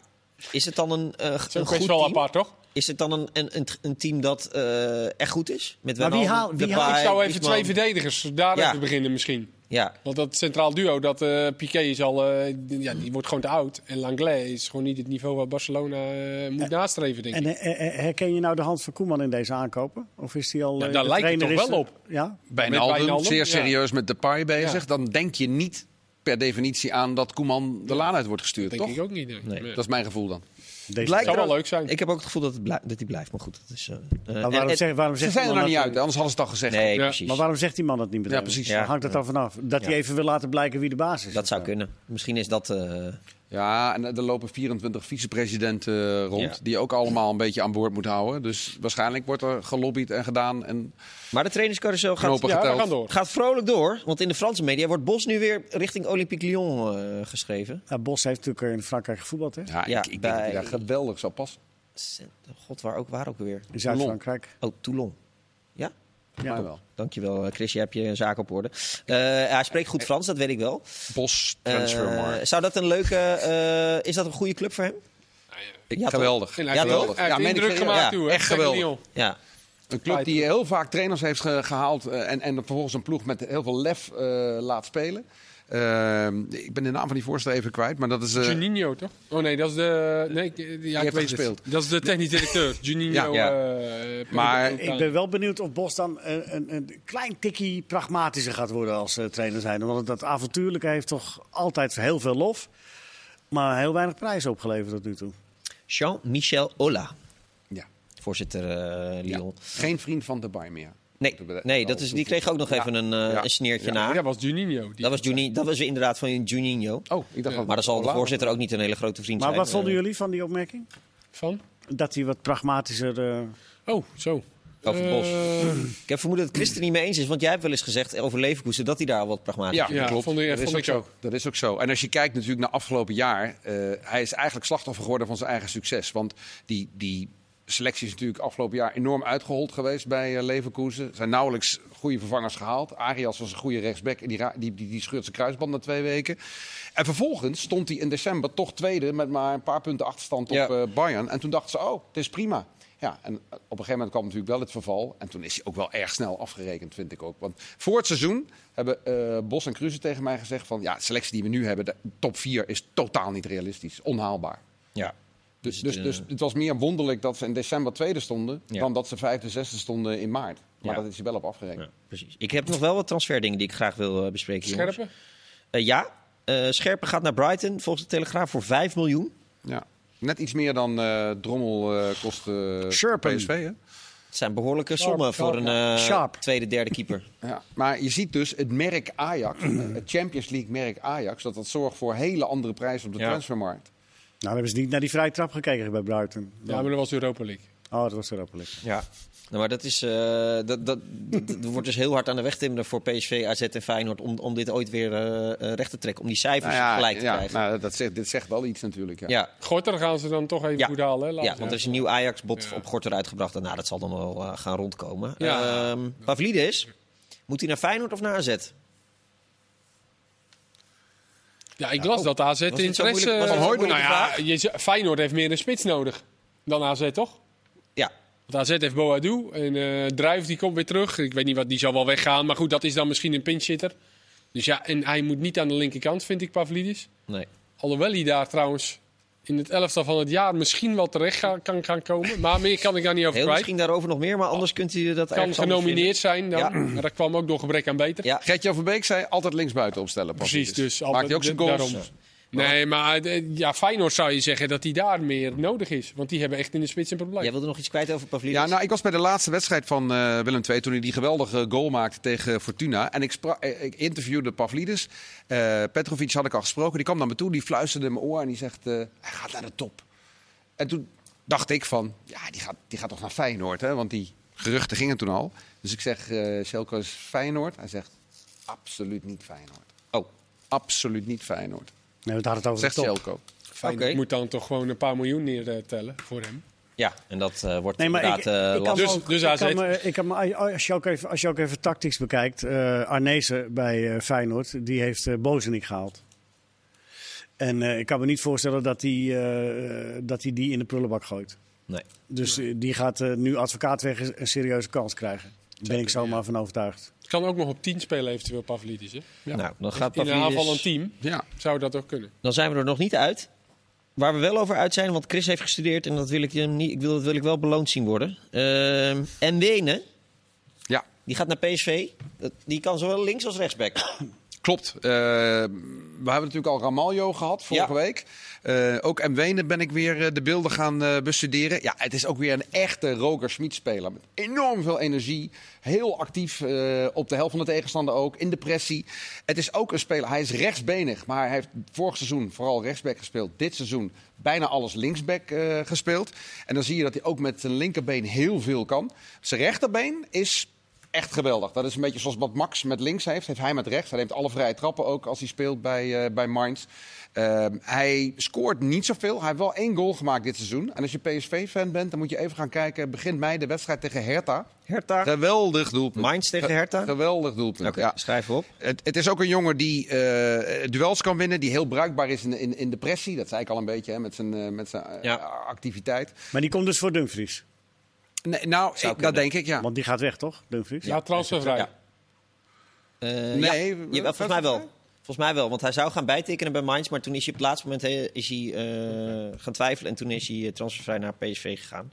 is het dan een, eh, Dat is een ook goed best wel team? apart, toch? Is het dan een, een, een, een team dat eh, echt goed is? Met Maar wie Wijnaldum, haal- wie Depay, haal- Ik zou even Griezmann. twee verdedigers daar Ja. even beginnen misschien. Ja, Want dat centraal duo, dat eh, Piqué is al, eh, d- ja, die wordt gewoon te oud. En Langlais is gewoon niet het niveau wat Barcelona eh, moet nastreven, denk ik. En eh, eh, herken je nou de hand van Koeman in deze aankopen? Of is die al. Ja, eh, daar de lijkt het trainer toch is wel er- Ja? Met Wijnaldum, Wijnaldum, zeer ja. serieus met Depay bezig. Ja. Dan denk je niet per definitie aan dat Koeman de laan uit wordt gestuurd, denk toch? ik ook niet. nee. Nee. Nee. Dat is mijn gevoel dan. Deze... lijkt zou er wel leuk zijn. ik heb ook het gevoel dat, het blij- dat die blijft. Maar goed, dat is... eh, eh, Maar en- waarom, en- zeg, waarom Ze zegt zijn er die man nog niet dat- uit, anders hadden ze het al gezegd. Nee, Ja. precies. Maar waarom zegt die man dat niet meteen? Ja, precies. Ja. Waar hangt dat dan vanaf? Dat hij Ja. even wil laten blijken wie de baas is. Dat zou Ja. kunnen. Misschien is dat... eh, Ja, en er lopen 24 vicepresidenten eh, rond, Ja. die ook allemaal een beetje aan boord moeten houden. Dus waarschijnlijk wordt er gelobbyd en gedaan en Maar de trainerscarousel gaat, knopen Ja, we geteld. gaan door. gaat vrolijk door. Want in de Franse media wordt Bos nu weer richting Olympique Lyon eh, geschreven. Ja, Bos heeft natuurlijk in Frankrijk gevoetbald, hè? Ja, Ja, ik, ik denk bij- dat hij daar geweldig zou passen. Cent- God, waar ook, waar ook weer? In Zuid-Frankrijk. Oh, Toulon. Ja? Ja. Ja. Wel. Dankjewel, eh, Chris. Je hebt je zaak op orde. Eh, hij spreekt goed Frans, dat weet ik wel. Bos, Eh, transfermarkt. zou dat een leuke... eh, is dat een goede club voor hem? Ik- ja, toch? geweldig. En hij Ja, heeft wel- toch? hij heeft Ja, indruk Mendy- gemaakt, ja, toe, hè, echt tegen geweldig. Lyon. Ja. Een club die heel vaak trainers heeft ge- gehaald eh, en, en dan vervolgens een ploeg met heel veel lef eh, laat spelen. Eh, ik ben de naam van die voorstel even kwijt, maar dat is... eh, Juninho, toch? Oh nee, dat is de... Nee, ik- ja, ik heeft weet het. gespeeld. Dat is de technisch directeur. Juninho. Ja, ja. eh, Maar- Peter Ik ben wel benieuwd of Bos dan een, een, een klein tikkie pragmatischer gaat worden als eh, trainer zijn. Want dat avontuurlijke heeft toch altijd heel veel lof, maar heel weinig prijzen opgeleverd tot nu toe. Jean-Michel Ola, ja, voorzitter eh, ja. Lyon. Geen vriend van de Bayern meer. Nee, nee dat is, die kreeg ook nog even een, eh, Oh, Ja. een sneertje Ja. na. Ja, dat was Juninho. Die Dat was, Juni, dat was inderdaad van Juninho. Oh, ik dacht dat Maar dan zal de Ola- voorzitter ook niet een hele grote vriend Maar zijn. wat vonden Eh, jullie van die opmerking? Van? Dat hij wat pragmatischer. eh, Oh, zo. Over het bos. Eh, Ik heb vermoeden dat Chris het er niet mee eens is. Want jij hebt wel eens gezegd over Leverkusen dat hij daar al wat pragmatisch Ja, is. Ja, klopt. vond ik- dat is vond ook ik zo. ook. Dat is ook zo. En als je kijkt natuurlijk naar afgelopen jaar, eh, hij is eigenlijk slachtoffer geworden van zijn eigen succes. Want die, die selectie is natuurlijk afgelopen jaar enorm uitgehold geweest bij eh, Leverkusen. Er zijn nauwelijks goede vervangers gehaald. Arias was een goede rechtsback en die, ra- die, die, die scheurt zijn kruisband na twee weken. En vervolgens stond hij in december toch tweede met maar een paar punten achterstand Ja. op eh, Bayern. En toen dachten ze, oh, het is prima. Ja, en op een gegeven moment kwam natuurlijk wel het verval. En toen is hij ook wel erg snel afgerekend, vind ik ook. Want voor het seizoen hebben eh, Bos en Kruse tegen mij gezegd van... ja, de selectie die we nu hebben, de top 4, is totaal niet realistisch. Onhaalbaar. Ja. Dus, Dus dus, het, dus eh, het was meer wonderlijk dat ze in december tweede stonden... Ja. dan dat ze vijfde, zesde stonden in maart. Maar Ja. dat is hij wel op afgerekend. Ja, precies. Ik heb nog wel wat transferdingen die ik graag wil eh, bespreken. jongens. Scherpen? Eh, ja, Eh, Scherpen gaat naar Brighton volgens de Telegraaf voor 5 miljoen. Ja. Net iets meer dan eh, Drommel eh kost eh, Sherpen. PSV, hè? Het zijn behoorlijke Sharp, sommen sharp, voor een eh, Sharp. tweede, derde keeper. Ja, maar je ziet dus het merk Ajax, het Champions League merk Ajax, dat dat zorgt voor hele andere prijzen op de Ja. transfermarkt. Nou, dan hebben ze niet naar die vrije trap gekeken bij Bruiten. Ja, maar dat was Europa League. Oh, dat was erop. Oké. Ja. Nou, maar dat is. eh, dat, dat, dat, dat wordt dus heel hard aan de weg timmeren voor PSV, AZ en Feyenoord. Om, om dit ooit weer eh, eh, recht te trekken. Om die cijfers Nou ja, gelijk te ja, krijgen. nou, dat zegt, dit zegt wel iets natuurlijk. Ja. ja. Gorter gaan ze dan toch even Ja. goed halen. Hè? Laten Ja, we- want er is een nieuw Ajax-bot Ja. op Gorter uitgebracht. En nou, dat zal dan wel eh, gaan rondkomen. Ja. Ehm, Pavlidis, moet hij naar Feyenoord of naar AZ? Ja, ik las dat AZ dit zo interesse... moeilijk? Oh, Was dit eh, zo moeilijk nou ja, vraag? je, z- Feyenoord heeft meer een spits nodig dan AZ, toch? Ja, Want AZ heeft Boadu en eh Druif die komt weer terug. Ik weet niet wat, die zal wel weggaan. Maar goed, dat is dan misschien een pinchhitter. Dus ja, en hij moet niet aan de linkerkant, vind ik, Pavlidis. nee. Alhoewel hij daar trouwens in het elftal van het jaar misschien wel terecht ga- kan gaan komen. Maar meer kan ik daar niet over Heel kwijt. Oh. misschien daarover nog meer, maar anders kunt u dat Kan ergens anders genomineerd zijn dan. Ja. Maar dat kwam ook door gebrek aan beter. Ja. Gert-Jan van Beek zei altijd linksbuiten opstellen. Pavlidis. Precies, dus Maakt hij ook zijn goals. daarom. Nee, maar eh, ja, Feyenoord zou je zeggen dat hij daar meer nodig is. Want die hebben echt in de spits een probleem. vinden. Jij wilde nog iets kwijt over Pavlidis? Ja, nou, ik was bij de laatste wedstrijd van eh, Willem II toen hij die geweldige goal maakte tegen Fortuna. En ik, spra- eh, ik interviewde Pavlidis. Eh, Petrovic had ik al gesproken. Die kwam naar me toe, die fluisterde in mijn oor en die zegt, eh, hij gaat naar de top. En toen dacht ik van, ja, die gaat, die gaat toch naar Feyenoord, hè? Want die geruchten gingen toen al. Dus ik zeg, eh Schelke is Feyenoord. Hij zegt, absoluut niet Feyenoord. Oh, oké. Absoluut niet Feyenoord. Nee, we hadden het over Zegt de top. Schelko. Ik moet dan toch gewoon een paar miljoen neertellen voor hem. Ja, en dat eh, wordt Nee, maar ik, inderdaad eh ik kan lastig. Dus- ook- dus ik AZ. kan me- ik kan me- als, je ook even, als je ook even tactisch bekijkt, eh Arnezen bij eh, Feyenoord, die heeft eh Bozenik gehaald. En eh, ik kan me niet voorstellen dat hij eh, dat hij die in de prullenbak gooit. Nee. Dus eh, die gaat eh, nu advocaat weg een serieuze kans krijgen. Daar ben ik zomaar van overtuigd. Het kan ook nog op 10 spelen eventueel Pavlidis. Hè? Nou, dan gaat In de Pavlidis- aanval een team Ja. zou dat ook kunnen. Dan zijn we er nog niet uit. Waar we wel over uit zijn, want Chris heeft gestudeerd en dat wil ik, hem niet, ik wil, dat wil ik wel beloond zien worden. Ehm en Wenen, Ja, die gaat naar PSV. Dat- Die kan zowel links als rechtsback. Klopt. Eh, we hebben natuurlijk al Ramaljo gehad vorige Ja. week. Eh, ook M. Wenen ben ik weer eh, de beelden gaan eh, bestuderen. Ja, het is ook weer een echte Roger Smit-speler. Met enorm veel energie. Heel actief eh, op de helft van de tegenstander ook. In de pressie. Het is ook een speler. Hij is rechtsbenig. Maar hij heeft vorig seizoen vooral rechtsback gespeeld. Dit seizoen bijna alles linksback eh, gespeeld. En dan zie je dat hij ook met zijn linkerbeen heel veel kan. Zijn rechterbeen is echt geweldig. Dat is een beetje zoals wat Max met links heeft, heeft hij met rechts. Hij neemt alle vrije trappen ook als hij speelt bij, eh, bij Mainz. Ehm, hij scoort niet zoveel. Hij heeft wel één goal gemaakt dit seizoen. En als je PSV-fan bent, dan moet je even gaan kijken. Begint mei de wedstrijd tegen Hertha. Hertha. Geweldig doelpunt. Mainz tegen Ge- Hertha? Geweldig doelpunt, Oké, ja. schrijven we op. Het, het is ook een jongen die eh, duels kan winnen, die heel bruikbaar is in, in, in de pressie. Dat zei ik al een beetje hè, met zijn, eh, met zijn eh, Ja. activiteit. Maar die komt dus voor Dumfries. Nee, nou, ik- dat kunnen. denk ik, ja. Want die gaat weg, toch? Dumfries? Ja, transfervrij. Ja. Eh, Nee, ja, wat- jawel, volgens mij wel. Volgens mij wel, want hij zou gaan bijtekenen bij Mainz, maar toen is hij op het laatste moment eh, is hij, eh, gaan twijfelen en toen is hij eh, transfervrij naar PSV gegaan.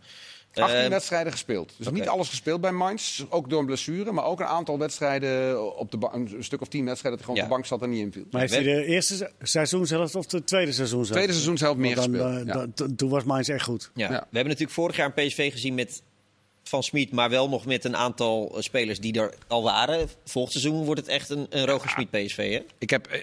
18 Eh, wedstrijden gespeeld. Dus niet alles gespeeld bij Mainz. Ook door een blessure. Maar ook een aantal wedstrijden op de ba- een stuk of 10 wedstrijden dat hij gewoon Ja. op de bank zat en niet inviel. Maar heeft hij de eerste se- seizoen zelf of de tweede seizoen zelf? Tweede seizoen zelf meer Want dan, eh, gespeeld. ja. dan- to- toen was Mainz echt goed. Ja. Ja. We hebben natuurlijk vorig jaar een PSV gezien met Van Smit, maar wel nog met een aantal eh, spelers die er al waren. Volgend seizoen wordt het echt een, een Roger Smit PSV, hè? Ik heb eh,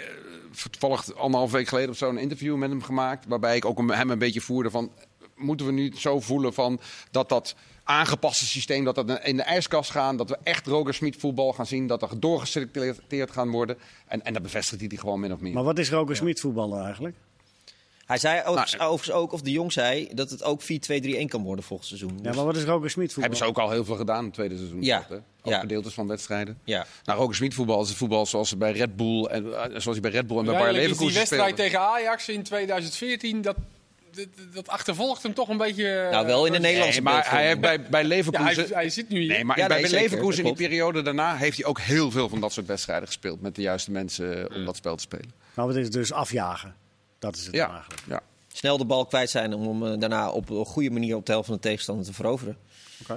toevallig anderhalf week geleden of zo een interview met hem gemaakt. Waarbij ik ook hem- hem een beetje voerde van... Moeten we nu zo voelen van dat dat aangepaste systeem... dat dat in de ijskast gaan, dat we echt Roger Smit voetbal gaan zien... dat er doorgeselecteerd gaan worden. En, en dat bevestigt hij die gewoon min of meer. Maar wat is Roger Smit voetballer eigenlijk? Hij zei Nou, overigens, overigens ook, of de Jong zei, dat het ook 4-2-3-1 kan worden volgend seizoen. Dus Ja, maar wat is Roger Smit voetballer? Hebben ze ook al heel veel gedaan in het tweede seizoen. Ja. Ook Ja. gedeeltes van wedstrijden. Ja. Nou, Roger Smit voetbal is het voetbal zoals ze bij Red Bull en eh, zoals hij bij Red Bull en bij Bayer Uiteindelijk is die Leverkusen wedstrijd speelde. tegen Ajax in 2014, dat, dat, dat achtervolgt hem toch een beetje... eh, Nou, wel in de dat- Nederlandse Nee, maar hij heeft beeldvorming. bij, bij Ja, hij, Leverkusen... hij zit nu hier. Nee, maar Ja, bij nee, zeker, Leverkusen in dat die periode daarna heeft hij ook heel veel van dat soort wedstrijden gespeeld. Met de juiste mensen eh, om dat spel te spelen. Nou, wat is het dus afjagen? Dat is het dan Ja, eigenlijk. ja. Snel de bal kwijt zijn om hem eh, daarna op een goede manier op de helft van de tegenstander te veroveren.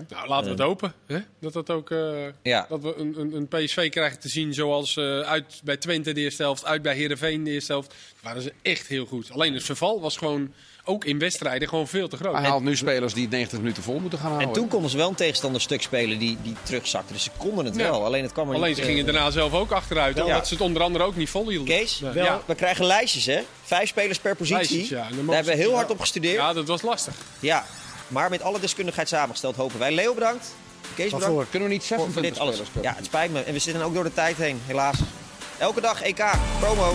Nou, laten we het hopen. Hè? Dat, dat, ook, eh, Ja. dat we een, een, een PSV krijgen te zien zoals eh, uit bij Twente de eerste helft, uit bij Heerenveen de eerste helft. waren ze echt heel goed. Alleen het verval was gewoon, ook in wedstrijden, gewoon veel te groot. Hij haalt nu spelers die 90 minuten vol moeten gaan houden. En toen konden ze wel een tegenstander stuk spelen die, die terugzakte. Dus ze konden het Ja. wel, alleen het kwam er Alleen niet. ze eh, gingen daarna zelf ook achteruit, omdat Ja. ze het onder andere ook niet volhielden. Kees, Ja. wel, Ja. we krijgen lijstjes, hè? Vijf spelers per positie. Lijstjes, ja. En dan mogen Daar hebben we ze- heel hard op gestudeerd. Ja, dat was lastig. Ja, maar met alle deskundigheid samengesteld hopen wij. Leo bedankt. Kees Wat bedankt voor? Kunnen we niet voor, 26 voor dit alles. spelers spelen? Ja, het spijt me. En we zitten ook door de tijd heen, helaas. Elke dag EK, promo.